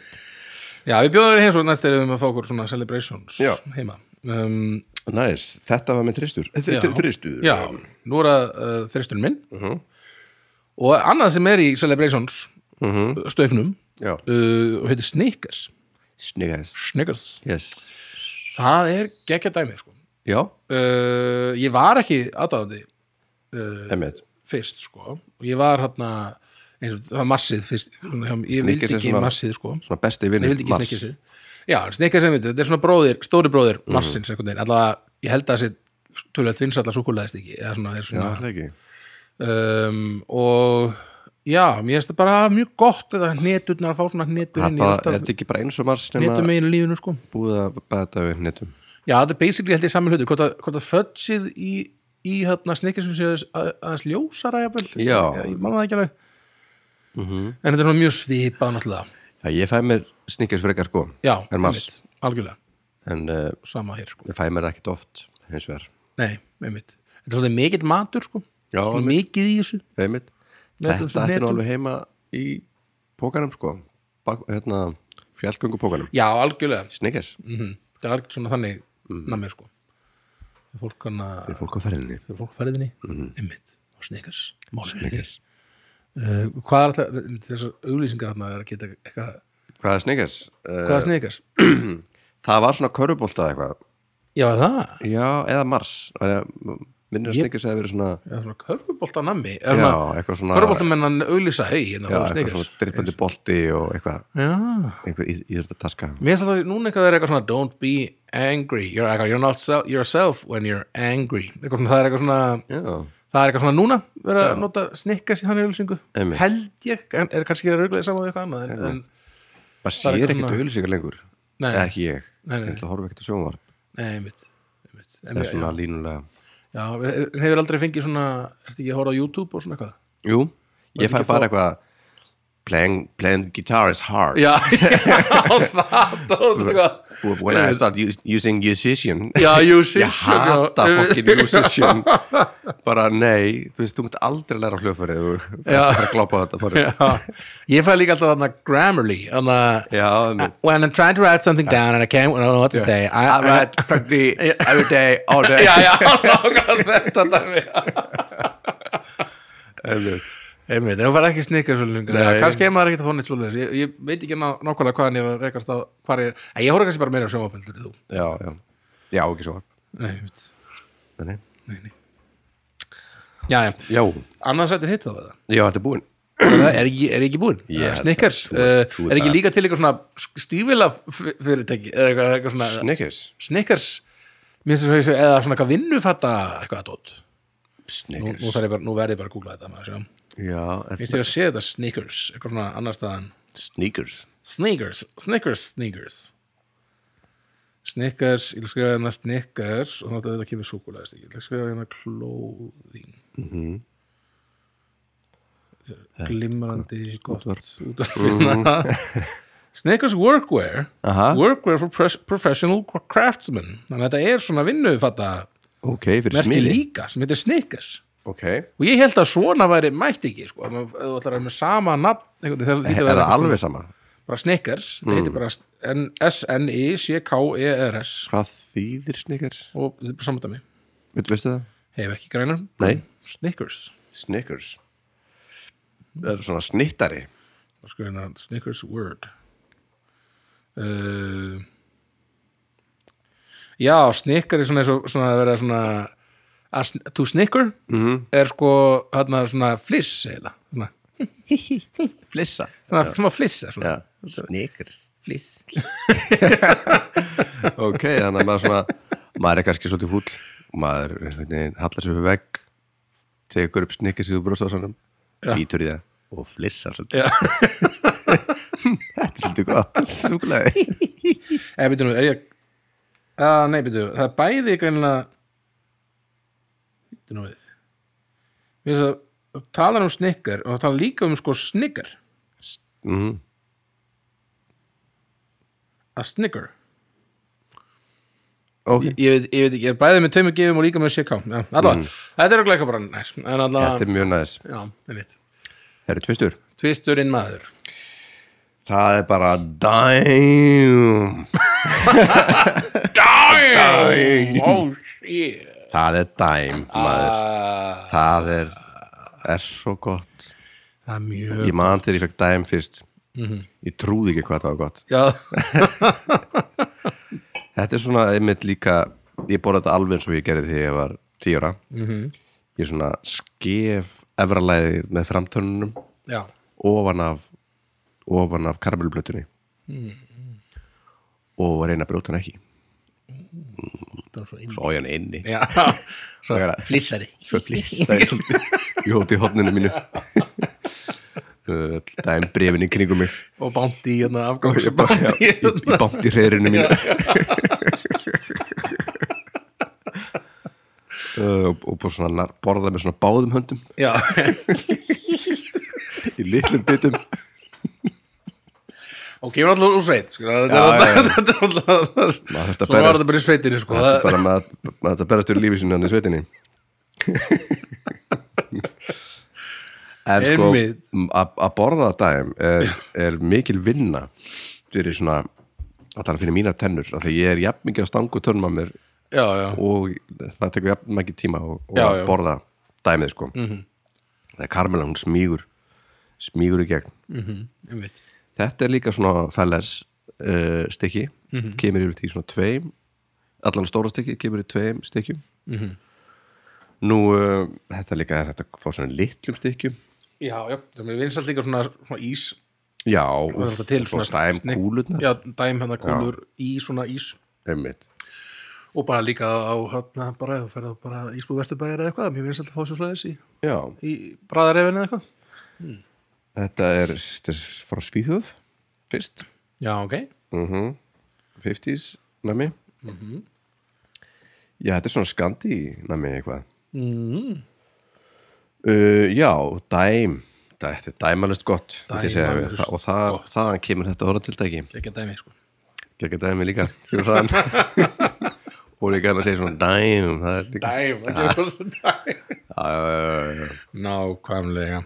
S2: já, við bjóðum þér heim svo næst erum við um að fá okkur svona celebrations
S1: Já.
S2: heima um,
S1: Næs, þetta var með þristur
S2: Já.
S1: Þristur
S2: Já, nú er það uh, þristurinn minn
S1: Mhm.
S2: og annað sem er í Celebrations uh
S1: Mhm.
S2: stöknum
S1: já.
S2: uh, og heitir Snickers
S1: Sniggæs
S2: Snickers,
S1: yes.
S2: það er gekkja dæmi sko.
S1: Já,
S2: uh, ég var ekki aðdáðandi
S1: emmitt
S2: fyrst sko og ég var hérna eins og það var massið fyrst svona, hjá- ég vildi
S1: Snickers er
S2: ekki
S1: svona-
S2: massið sko
S1: Svona besti vinnur
S2: ég vildi ekki Snickersið já, Snickersið mitt, þetta er svona bróðir, stóri bróðir
S1: Mhm.
S2: massins einhvern veginn, allavega ég held að það sé tölvöld vinsalla súkulæðist ekki eða svona, er
S1: Já,
S2: svona
S1: það ekki
S2: um, og já, mér finnst það bara mjög gott þetta hneturnar að fá svona hnetur inn í
S1: Pappa, er
S2: alltaf
S1: þetta ekki bara eins og mars
S2: hnetum
S1: nema
S2: meginu lífinu sko
S1: búið að bæða þetta við netum
S2: já, þetta er basically held ég saman hlutur hvort að, hvort að fötsið í, í hérna snikkar sem séu aðeins- að- aðeins ljósara jafnvel,
S1: Já. Mhm.
S2: ég man það ekki alveg en þetta er svona mjög svipað náttúrulega,
S1: Já, ég fæ mér Sniggæs frekar sko
S2: já,
S1: En Mars.
S2: einmitt, algjörlega
S1: En uh,
S2: sama hér sko,
S1: ég fæ mér það ekkit oft hins vegar
S2: nei, einmitt þetta er svona mikill matur sko
S1: Já,
S2: Svona
S1: einmitt,
S2: mikið í þessu
S1: einmitt Þetta
S2: Netum sem
S1: ætti nú
S2: netum.
S1: alveg heima í pókanum sko Bak, hérna, Fjallgöngu pókanum
S2: já, algjörlega,
S1: Sniggæs,
S2: Mhm. þetta er algjörlega svona þannig
S1: Mhm.
S2: namið sko fólk hann að
S1: fólk á ferðinni
S2: fyrir fólkferðinni
S1: Mhm.
S2: mm. einmitt, á Snickers Snickers uh, hvað er alltaf, þessar auglýsingar hann er að geta eitthvað,
S1: Hvað er Sniggæs?
S2: hvað
S1: Eh.
S2: er Snickers?
S1: Það var svona körfubolta eitthvað
S2: já það,
S1: Já, eða Mars Það er- Minnir að
S2: Ég-
S1: Sniggers hefði verið svona
S2: það er svona körfubolta nammi
S1: Já,
S2: er svona,
S1: eitthvað svona
S2: körfubolta menn hann auglýsa hei,
S1: Já,
S2: hérna á
S1: eitthvað
S2: Snickers
S1: svona drippandi bolti og eitthvað
S2: já,
S1: einhver íðurtataska
S2: mér finnst alltaf núna eitthvað er eitthvað svona don't be angry, you're, eitthvað, you're not self, yourself when you're angry eitthvað svona, það er eitthvað svona
S1: Já,
S2: Það er eitthvað svona núna, verið að nota snikkast í þannig auðlýsingu,
S1: Einmitt.
S2: held ég, en er kannski að rauglega saman við eitthvað annað, en, en
S1: maður
S2: Það er
S1: sér
S2: eitthvað
S1: ekkert
S2: svona-
S1: auðlýsingar lengur
S2: Nei.
S1: Eða ekki ég,
S2: Nei, nei.
S1: ég ætla að horfa ekkert á sjónvarp
S2: nei, einmitt, einmitt. En
S1: Það
S2: já,
S1: er svona línulega
S2: Já, en hefur aldrei fengið svona, ertu ekki að horfa á YouTube og svona eitthvað?
S1: Jú, ég fæ bara eitthvað playing, playing guitar is hard
S2: Já, já, það tóð eitthvað
S1: when I start us- using musician
S2: Já, sko,
S1: ég
S2: Musician
S1: hata fokkin musician bara nei, þú veist, þú mynd aldrei læra á hljóðfæri þú þú
S2: Já.
S1: ert bara að glápa á þetta fyrir já,
S2: Ég fæ líka alltaf þarna Grammarly þarna,
S1: já
S2: When I'm trying to write something down and I can't I don't know what to say I,
S1: I write practically every day, all day
S2: Já, já, nákvæmlega þetta dæmi
S1: Einmitt.
S2: Einmitt, það var ekki snikkar svo lengur
S1: Nei.
S2: Já, Kannski er maður ekkert að fóna eitt svolítið ég, ég veit ekki ná, nákvæmlega hvaðan ég er að rekast á hvar ég, En ég horf kannski bara meira á sjónvapindur þú
S1: já, já, já, ekki svo
S2: Nei, ég veit
S1: Nei.
S2: Já, já,
S1: já,
S2: annars ætti þitt þá eða?
S1: já, þetta er búin
S2: er, er, ekki, er ekki búinn
S1: Ég held
S2: Snickers,
S1: að-
S2: uh,
S1: trúi
S2: er ekki
S1: það.
S2: líka til eitthvað svona stífila fyrirtæki eða eitthvað, eitthvað svona
S1: Snickers
S2: Snickers mér finnst þess að ég sé- eða svona eitthvað vinnufatta eitthvað að dót nú,
S1: Snickers
S2: nú, þarf ég bara, nú verði ég bara að googla þetta maður, sjá.
S1: já, er
S2: Ég sé að sé þetta Snickers eitthvað svona annar staðan
S1: Snickers
S2: Snickers, Snickers, Snickers Snickers, ég vil skrifa hérna Snickers og þannig að þetta kemur súkulega ég vil skrifa hérna clothing Mhm. glimrandi gott útvarp hérna. Mhm. Snickers workwear
S1: Aha.
S2: workwear for pres- professional craftsmen þannig að þetta er svona vinnufatta
S1: ok, fyrir
S2: merki
S1: smiði
S2: líka sem heitir Snickers
S1: ok,
S2: og ég held að svona væri mætt ekki sko, ef maður- ef þú ætlar að vera með sama nafn einhvern veginn, þegar
S1: er
S2: hlýtur að
S1: það
S2: vera-
S1: alveg Mm. sama
S2: bara Snickers, það heitir bara N- S-N-I-C-K-E-R-S
S1: hvað þýðir Snickers?
S2: og þetta er bara samdæmi,
S1: Veit, veistu það?
S2: hef ekki grænar
S1: Nei.
S2: Snickers
S1: Snickers það er svona snittari
S2: Bara skrifa hérna, Snickers word uh, Já, Snicker er svona, eins og- svona að vera svona að sn- to snicker
S1: Mhm.
S2: er sko hérna svona fliss eða svona,
S1: flissa
S2: svona, svona flissa svona.
S1: já. Snickers
S2: fliss
S1: ok, þannig að maður svona maður er kannski svolítið fúll maður einhvern veginn hallar sér fyrir vegg tekur upp Snickers í þú brosa á sannum býtur í það og flissa svolítið
S2: Já.
S1: þetta er svolítið gott súklaði
S2: Eða, byrju, nú, er ég að, nei, byrju, það er bæði greinilega byrju nú við við þess að það talar um snikkar og það talar líka um sko snikkar Mhm.
S1: mm.
S2: að snikkar
S1: ok,
S2: ég, ég, veit- ég veit ekki, ég er bæði með tveimur gefum og líka með CK já, allavega, þetta er okkur eitthvað bara næs en
S1: Mm. þetta
S2: allavega,
S1: er mjög næs
S2: já, ég veit
S1: það eru tvistur
S2: tvisturinn maður
S1: það er bara dæm
S2: Dæm! oh shit
S1: það er dæm maður
S2: Ah,
S1: það er, er svo gott
S2: það er mjög
S1: ég Mhm. man þegar ég fekk dæm fyrst ég trúði ekki hvað það var gott
S2: já,
S1: þetta er svona einmitt líka ég borða þetta alveg eins og ég gerði því ég var tíra mm ég er svona skef efralæði með framtönunum
S2: já,
S1: ofan af ofan af karamellblötunni Mhm. og reyna að brjóta hann ekki
S2: það er svo inn
S1: svo á ég hann inni
S2: já, svo
S1: Svo-
S2: flissari
S1: svo flýsta ég svolítið. Ég hóti í hotninu mínu Öll dæm brefin í kringum mig
S2: og bándi hérna
S1: Ég
S2: afgangs
S1: bara- já, í- í bámt í hreirinu mínu Uh, og, og bara svona nar- borða með svona báðum höndum
S2: já,
S1: í litlum bitum
S2: og kemur alltaf úr sveit sko. þetta
S1: Já, já, já.
S2: er alltaf- þetta er alltaf
S1: Maður þarf að
S2: svona var
S1: berjast.
S2: þetta bara í sveitinni sko.
S1: Þetta er bara með að maður þetta berast úr lífi sinni hann í sveitinni en sko
S2: Einmitt.
S1: m- að að borða dæm er, er mikil vinna fyrir svona að það er fyrir mína tennur af því að ég er jafn mikið að stangu törnum að mér
S2: já, já,
S1: og það tekur jafn mikið tíma og, og
S2: Já, Mhm.
S1: að
S2: já.
S1: borða dæmið sko mm -hmm. það er Karmela, hún smýgur smýgur í gegn
S2: einmitt
S1: þetta er líka svona felles uh, stykki,
S2: Mhm.
S1: kemur yfir því svona tveim allan stóra stykki kemur í tveim stykkjum
S2: Mhm.
S1: nú, uh, þetta líka er þetta að fá svona litlum stykkjum
S2: já, já, það er vinsalt líka svona, svona ís
S1: já,
S2: og það er alltaf til
S1: svo
S2: svona
S1: dæm
S2: snikk-
S1: kúlutna
S2: já, dæm hérna kúlur í svona ís
S1: einmitt,
S2: og bara líka á hérna bara eða ferða bara ísbúð vesturbæjar eða eitthvað mjög vinsalt að fá svo slæðis í,
S1: já,
S2: í bræðarefinu eða eitthvað
S1: þetta er, þetta er frá Svíþjóð fyrst
S2: já, ok,
S1: mm 50s nami
S2: Mhm.
S1: já, þetta er svona
S2: Mhm.
S1: skandi nami eitthvað
S2: mm,
S1: uh, já, Eh, dæm Þetta er dæmalist gott myndi ég segja.
S2: Dæmalaust
S1: Þa- og það,
S2: gott.
S1: þaðan kemur þetta orðatildæki
S2: ekki að dæmi sko.
S1: geggjað dæmi líka fyrir þaðan. og líka hann að segja svona dæm það er líka
S2: dæm, ekki að kosta dæm
S1: Já, já, já, já, já.
S2: nákvæmlega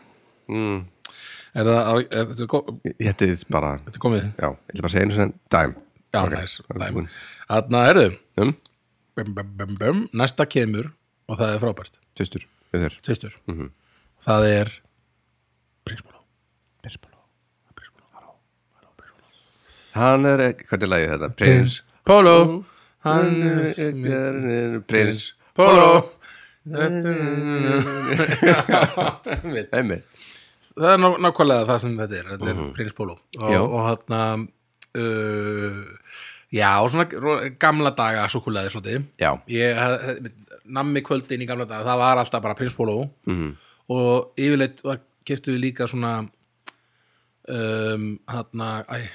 S1: Mm.
S2: er það, er, er, þetta er, kom,
S1: þetta er bara
S2: þetta er komið
S1: já, ég ætla bara að segja einu sem dæm
S2: já, næs, dæm
S1: búin.
S2: þarna er þau
S1: um,
S2: bum, bum, bum, bum. næsta kemur og það er frábært
S1: tvistur, við þér
S2: tvistur það er prinsbóló
S1: hann er, hvað er lagið þetta?
S2: prins,
S1: prins
S2: póló hann er
S1: prins, prins.
S2: póló
S1: Einmitt.
S2: það er ná- nákvæmlega það sem þetta er þetta er prins póló og,
S1: Já.
S2: og hann uh, já, svona ro- gamla daga súkulegaði svolítið
S1: já,
S2: ég, hef- nammi kvöldin í gamla daga það var alltaf bara prins póló
S1: Mhm.
S2: og yfirleitt var, keftu við líka svona um, hann að það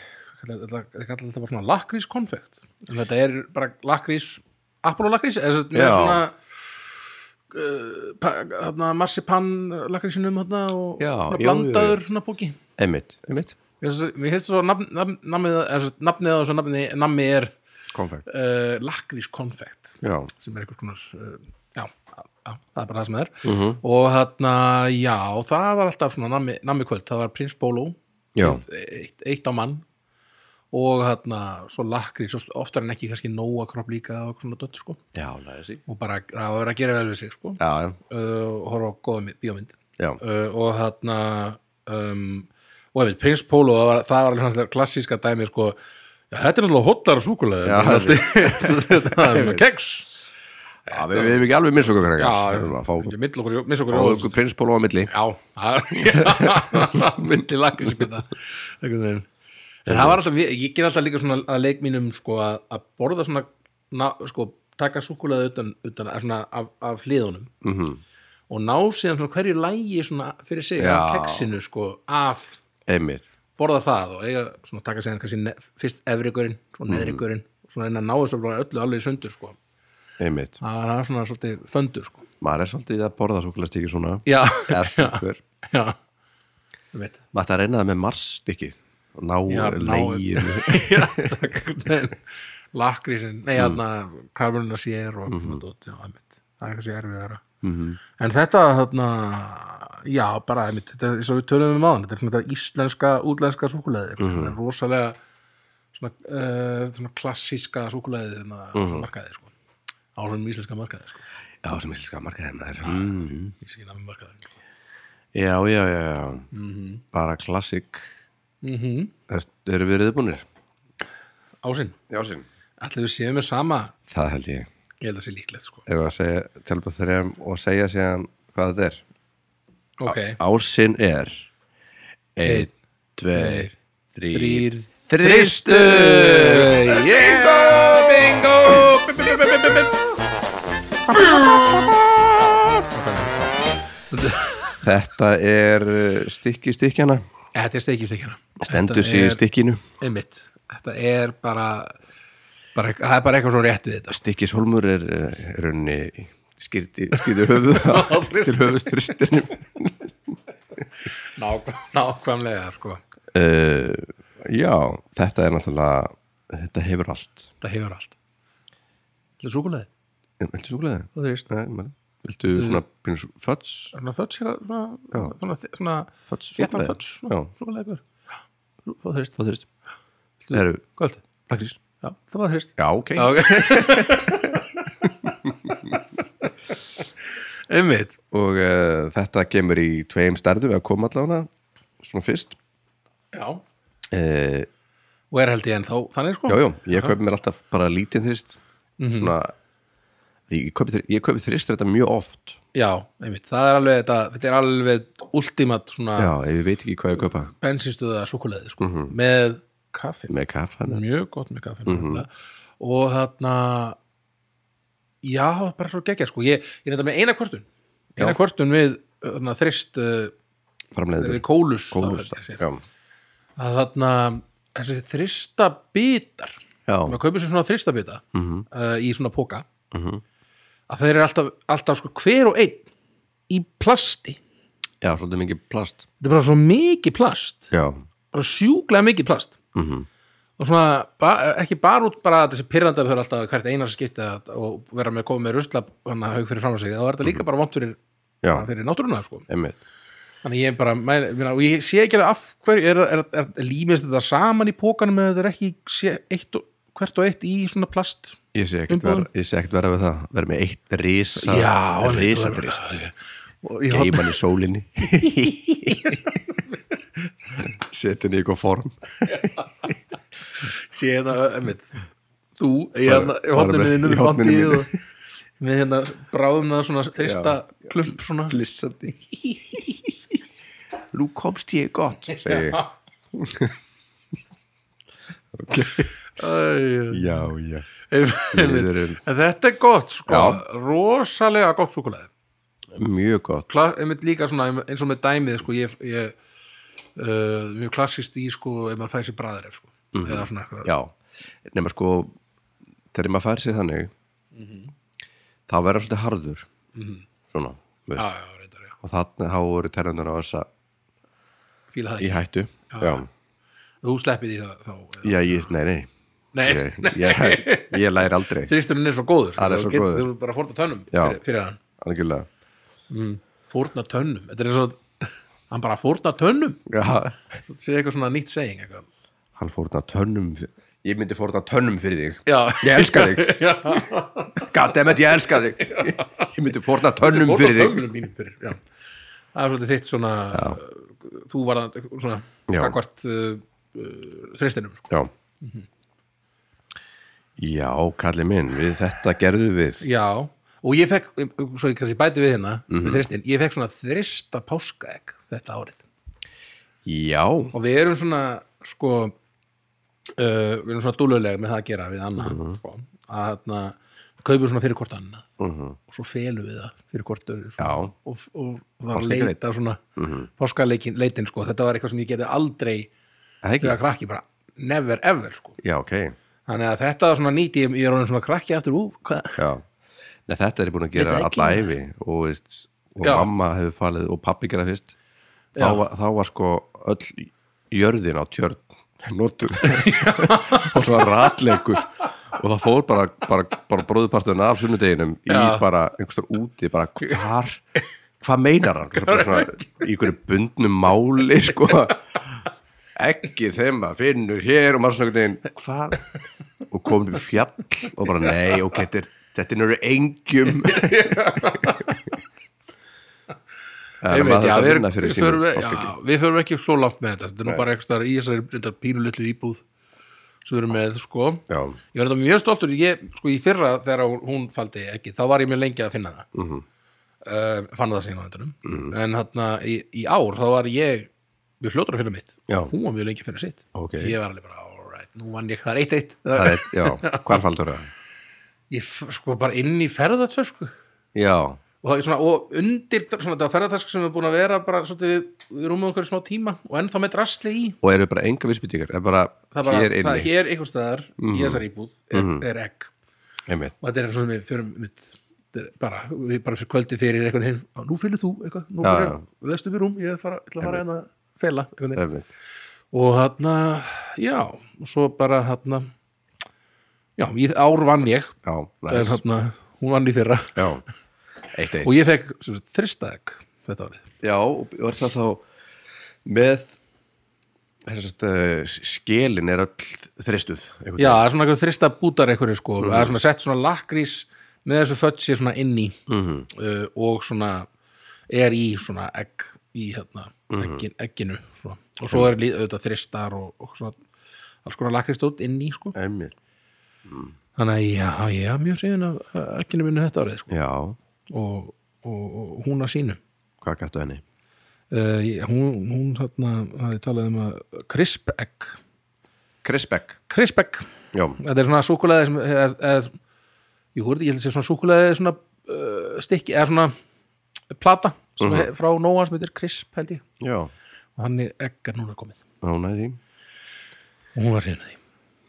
S2: kallar þetta bara svona lakrískonfekt en þetta er bara lakrís Apollo lakrís eða sem sagt með
S1: Já.
S2: svona uh, hann að marsipan lakrísinum hann og
S1: Já, jú,
S2: svona
S1: jú, jú.
S2: blandaður svona bóki
S1: einmitt, einmitt
S2: Ég sem sagt- mér hefst svo nafn- nafn- nafnið eða sem sagt, nafnið á þessu nafni nammi er
S1: konfekt,
S2: uh, lakrískonfekt
S1: já,
S2: sem er einhvers konar uh, já, já, það er bara það sem það er
S1: Mhm.
S2: og þarna, já, það var alltaf svona nammi, nammi kvöld, það var prins Bóló
S1: já
S2: eitt, eitt á mann og þarna, svo lakri svo oftar en ekki kannski nóa kropp líka og svona dött, sko,
S1: já, lagið sí
S2: og bara það var að gera vel við sig, sko,
S1: já, já,
S2: uh, og horfa á góða mi- bíómynd
S1: já,
S2: uh, og þarna um, og ef við prins Pólo það var, það var alveg svona klassíska dæmi sko, já, þetta er náttúrulega hóttar súkulega
S1: Já,
S2: þetta er með keks
S1: já við við hefum ekki alveg minnst okkur
S2: já,
S1: krakkar. Við erum að fá
S2: ekki mill okkur, miss okkur
S1: fá
S2: jól.
S1: okkur prins Pól á milli
S2: já, það myndi lakrísbita einhvern veginn en það var alltaf, ég, ég ger alltaf líka svona að leik mínum sko að, að borða svona na, sko, taka súkulega utan, utan að svona af, af hliðunum
S1: mm
S2: og ná síðan svona hverju lægi svona fyrir sig
S1: Já.
S2: af keksinu sko af
S1: einmitt,
S2: borða það og eiga svona taka sér kannski ne- fyrst efrigurinn,
S1: Mhm.
S2: svo neðrigurinn mm. svona reyna að ná þessu bara öllu alveg í sundur sko
S1: einmitt
S2: það það er svona svolítið föndur sko
S1: maður er svolítið að borða súkulastikki svona
S2: já,
S1: er svolítið
S2: já ég veit
S1: maður ætti að reyna það með marsstykki og ná
S2: Já, ná-
S1: leginu
S2: Já, takk. lakrísin, nei hérna karbonina sér og svona dót já, einmitt. það er kannski erfiðara -hmm. en þetta þarna já, bara, einmitt, þetta er svo við tölum um áðan þetta er svona þetta íslenska, útlenska súkuleði mm -hmm. rosalega svona, uh, svona klassíska súkuleði þarna mm -hmm. markaði sko á svona íslenska markaði sko
S1: já, sem íslenska markaðin er mm.
S2: ég sé ekki nafnum markaði
S1: já, já, já, já bara klassik
S2: mm -hmm.
S1: Er- eru við reyðbúnir?
S2: ásinn,
S1: já, sín
S2: allir við séum með sama
S1: það held ég,
S2: ég held að sé líklegt sko
S1: ef að segja tjálpa þrejum og segja síðan hvað þetta er
S2: ok,
S1: ásinn er einn,
S2: tveir,
S1: tveir, þrýr
S2: þrýr
S1: þrýstur bingo, bingo þetta er uh, stykki stykkjana
S2: Eh, þetta er steikistekjana
S1: stendur sig í stykkinu
S2: einmitt, þetta er bara, bara það er bara eitthvað svo rétt við þetta
S1: Stykkishólmur er eh, raunni skýrti, skýrti höfuð á- til höfuðspristinum
S2: Nákvæm, nákvæmlega sko.
S1: uh, Já, þetta er náttúrulega þetta hefur allt
S2: þetta hefur allt þetta er súkuleði
S1: Eh, Viltu súkulega?
S2: það er víst.
S1: Nei, maður Viltu svona pínu sú- föts?
S2: svona föts hérna, svona,
S1: Já.
S2: svona, svona
S1: Föts,
S2: þéttan
S1: súkkulaði?
S2: föts,
S1: Já,
S2: súkuleði það þurrist,
S1: það þurrist Það eru
S2: góð
S1: lakrís
S2: já, það var þurrist
S1: Já, ok
S2: einmitt
S1: Og uh, þetta kemur í tveim stærðu við að koma allavega svona fyrst
S2: já. og
S1: uh,
S2: er held ég ennþá þannig sko
S1: Já, já, ég kaupi mér alltaf bara lítinn þrist svona ég kaupi, þri- ég kaupi þrist þetta mjög oft
S2: Já, einmitt, það er alveg þetta, þetta er alveg ultimat svona
S1: Já, Mhm. ef ég veit ekki hvað ég kaupa
S2: bensinstöða súkuleði sko, með kaffi
S1: með kaffa mm.
S2: mjög gott með kaffi nefnilega. og þarna já, það var bara svo geggja sko ég, ég er þetta með eina kvartun eina kvartun við þarna, þrist uh, við
S1: framleiðendur
S2: kólus,
S1: Kólus,
S2: þá, þessi,
S1: Mm. já,
S2: að þarna þessi þrista bitar
S1: já,
S2: maður kaupir sér svona þrista bita
S1: Mhm.
S2: uh, í svona póka
S1: Mhm.
S2: að þeir eru alltaf, alltaf sko hver og einn í plasti
S1: já, svolítið mikið plast
S2: þetta er bara svo mikið plast
S1: já,
S2: bara sjúklega mikið plast
S1: mm
S2: og svona, ba ekki bara út bara þessi pyrrandi að þau eru alltaf hvert eina sem skipti að, og vera með að koma með rusla hann að haug fyrir fram á sig, þá er þetta líka bara vont fyrir,
S1: já,
S2: fyrir náttúruna, sko
S1: einmitt
S2: þannig ég bara, mæl, minna, og ég sé ekki alveg af hverju, er, er, er, er límist þetta saman í pókanum eða þetta er ekki sé, eitt og, hvert og eitt í svona plast
S1: ég sé ekkert
S2: Umbúðum.
S1: vera, ég sé ekkert vera við það vera með eitt risa
S2: en-
S1: risadrist
S2: og ég hafði
S1: geiman í sólinni setja henni í eitthvað form
S2: sé
S1: hérna,
S2: þetta, emmitt þú, ég
S1: Bara-
S2: hérna, í
S1: bara
S2: hodninu
S1: eh, með-
S2: þínu
S1: í
S2: við
S1: horninu
S2: bandið
S1: mínu.
S2: og með hérna bráðum það svona þrista klump svona
S1: flissandi nú komst ég gott segi ég
S2: Æ,
S1: já, já
S2: Einmitt.
S1: Liðurinn.
S2: En þetta er gott sko,
S1: Já.
S2: rosalega gott súkulæði
S1: mjög gott
S2: Kla, einmitt líka svona eins og með dæmið sko, ég, ég uh, mjög klassist í sko, ef maður fæði sér bræðir sko, eða svona eitthvað
S1: Mhm. já, nema sko þegar maður fær sér þannig þá verður svolítið harður svona, veist
S2: já, já, reyndar, já,
S1: og þannig þá voru terrendur á þessa
S2: fíla það
S1: í
S2: ekki
S1: hættu já, já.
S2: þú sleppið því það þá eða-
S1: ég, nei, nei
S2: nei,
S1: ég, ég, ég læri aldrei
S2: þrýsturinn er svo góður sko,
S1: Hann er svo
S2: þú getur-
S1: góður.
S2: þú bara fórna tönnum
S1: Já.
S2: fyrir, fyrir hann,
S1: algjörlega
S2: fórna tönnum þetta er eins og hann bara fórna tönnum
S1: já.
S2: það sé eitthvað svona nýtt seging eitthvað.
S1: hann fórna tönnum fyr- ég myndi fórna tönnum fyrir þig
S2: já,
S1: ég elska þig,
S2: já
S1: goddammit ég elska þig ég myndi fórna tönnum Um
S2: Fórna
S1: fyrir þig
S2: tönnum mínum fyrir, já það er svolítið þitt svona uh, þú var að svona
S1: Já.
S2: kakvart uh, uh, hristinum sko.
S1: já já, kalli minn við þetta gerðum við
S2: já, og ég fekk um, svo ég kannski bæti við hérna
S1: Mhm.
S2: með hristin, ég fekk svona þrista páskaegg þetta árið
S1: já,
S2: og við erum svona sko uh, við erum svona dúlulega með það að gera við annað
S1: Mhm.
S2: sko, að þarna við kaupum svona fyrir hvort annað
S1: Mhm.
S2: og svo felum við það fyrir hvort öðru sko. svona,
S1: Já.
S2: og, og, og það
S1: Páskagreit.
S2: leita svona mm
S1: Mhm.
S2: -hmm. páskaleikin leitin sko, þetta var eitthvað sem ég geti aldrei
S1: það
S2: þegar
S1: ekki
S2: krakki bara never ever sko
S1: já, ok,
S2: þannig að þetta var svona nýtt ég, ég er orðin svona krakki aftur ú, hvað
S1: já Nei, þetta er ég búin að gera
S2: Þetta ekki.
S1: alla æfi og, veist, og
S2: Já.
S1: mamma hefur falið og pappi gera fyrst þá
S2: Já.
S1: var, þá var sko öll jörðin á tjörn notur og svo ratleikur og það fór bara, bara, bara bróðuparturinn af sunnudeginum í
S2: Já.
S1: bara einhverstur úti bara hvar, hvað meinar hann Svo bara svona, í einhverju bundnum máli sko ekki þeim að finnur hér og maður svona einhvern veginn hvað og komum við fjall og bara nei ok, þetta er, þetta er nörðu engjum Það er
S2: Einmitt,
S1: maður
S2: já,
S1: þetta að
S2: við-
S1: vinna fyrir
S2: við
S1: sínum
S2: förum-
S1: páskaeggjum.
S2: já, við förum ekki svo langt með þetta þetta er nú bara ekki starf í þessari reyndar pínulitlu íbúð sem við erum með sko
S1: Já,
S2: ég var þetta mjög stoltur ég, sko, í fyrra þegar hún- hún faldi ekki þá var ég mjög lengi að finna það mm
S1: Mhm.
S2: -hmm. fann það síðan á þetta en þarna í, í ár þá var ég mjög fljótur að finna mitt
S1: Já.
S2: hún var mjög lengi að finna sitt
S1: Ok.
S2: ég var alveg bara, alright, nú vann ég það er eitt eitt
S1: það er, já, hvar faldur það?
S2: ég f- sko bara inn í ferðartösku
S1: Já,
S2: og, það er svona, og undir svona, þetta var ferðartösku sem er búin að vera bara svolítið, við rúmum okkur í smá tíma og ennþá með drasli í
S1: og eru bara enga vissbyttingar, er bara,
S2: það er bara,
S1: hér
S2: það
S1: inni, Mhm.
S2: er hér einhvers staðar í þessari íbúð er, er egg
S1: einmitt,
S2: og þetta er svo sem við förum mitt, þetta er bara, við bara fyrir kvöldi fyrir einhvern veginn, "Á, nú fylgur þú eitthvað, nú
S1: Já,
S2: fyrir,
S1: já.
S2: lestu mér rúm, ég ætla að fara- ætla að fara hérna að fela einhvern veginn.
S1: einmitt.
S2: og þarna, já og svo bara þarna já, í ár vann ég
S1: Já,
S2: en
S1: næs,
S2: þarna, hún vann í fyrra
S1: já, eitt eitt.
S2: og ég fekk sem sagt, þristaðeg þetta árið
S1: Já, og er það þá með þessast uh, skelin er öll þristuð einhvern veginn.
S2: já, það er svona eitthvað þrista bútar einhverju sko, það er svona sett svona lakrís með þessu fötsi svona inn í uh, og svona er í svona egg í hérna, eggin, egginu svona. og svo er lí- auðvitað þristar og, og svona alls konar lakrístótt inn í sko
S1: Einmitt.
S2: þannig að já, ég er mjög síðan af uh, egginu minni þetta árið sko
S1: Já,
S2: og, og, og hún að sínu
S1: hvað gættu henni?
S2: uh, ég- hún, hún hérna, það er talað um að crisp egg
S1: Krispek
S2: crisp egg
S1: Já,
S2: þetta er svona súkulæði sem eða, eða, jú, ég held að sé svona súkulæði svona uh, stikki, eða svona plata sem
S1: Mhm.
S2: mm frá Nóa sem heitir Crisp held ég
S1: já,
S2: og hann er eggar núna komið
S1: á næði
S2: og hún var hrifin af því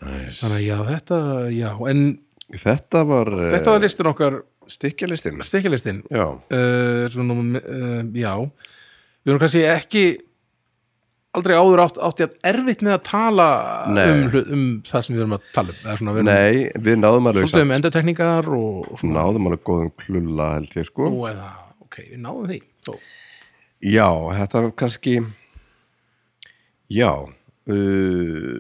S1: Næs.
S2: þannig að já, þetta, já, en
S1: Þetta var
S2: þetta var listin okkar Eh,
S1: stikkjalistin
S2: stikkilistinn
S1: Já,
S2: uh, svona, uh, já við erum kannski ekki aldrei áður átt, átt ég erfitt með að tala
S1: Nei.
S2: um, hlut- um það sem við erum að tala um eða svona við erum
S1: Nei, við náðum alveg
S2: svolítið
S1: samt,
S2: um endatekningar og, og svona
S1: náðum alveg góðum klulla held ég sko
S2: Nú eða, ok, við náðum því þó.
S1: Já, þetta var kannski Já uh,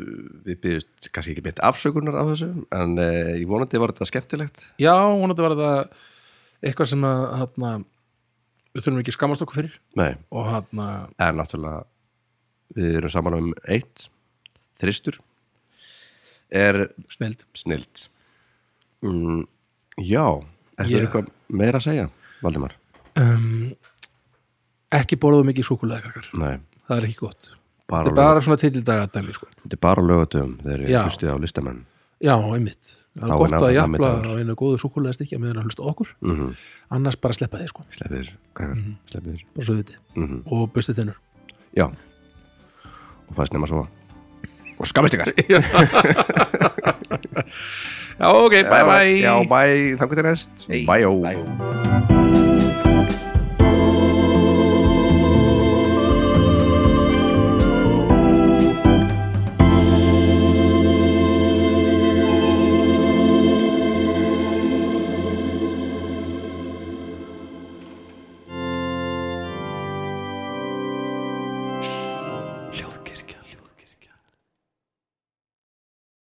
S1: Við byrjumst kannski ekki beitt afsökunar á þessu en uh, ég vonandi var þetta skemmtilegt
S2: Já, vonandi var þetta eitthvað sem að hana, við þurfum ekki að skammast okkur fyrir
S1: Nei,
S2: og hana,
S1: en náttúrulega við erum saman um eitt þristur er
S2: snild
S1: snilt mm, Já, er
S2: Já.
S1: þetta eitthvað meira að segja, Valdimar?
S2: um, ekki borðum mikið súkulega kakar,
S1: Nei,
S2: það er ekki gott
S1: bara,
S2: þetta er bara svona titildaga dæmi sko.
S1: þetta er bara á lögatum þegar
S2: Já.
S1: ég hlustið á listamenn
S2: Já, einmitt. Það
S1: Þá
S2: er
S1: er
S2: gott
S1: nafn-
S2: að
S1: nafnið
S2: jafla
S1: dagur.
S2: á einu góðu súkulega stykja meðan að hlusta á okkur
S1: mm -hmm.
S2: annars bara sleppa þið sko,
S1: Sleppið þér, krakkar, sleppið þér
S2: bara svo við þið
S1: mm -hmm.
S2: og bustið þennur
S1: Já Og fæst nema svo Og skamist ykkar
S2: Já, ok, bye bye
S1: Já, bæ, þangur til næst
S2: Hey.
S1: Bæjó
S2: Bye.
S1: eh,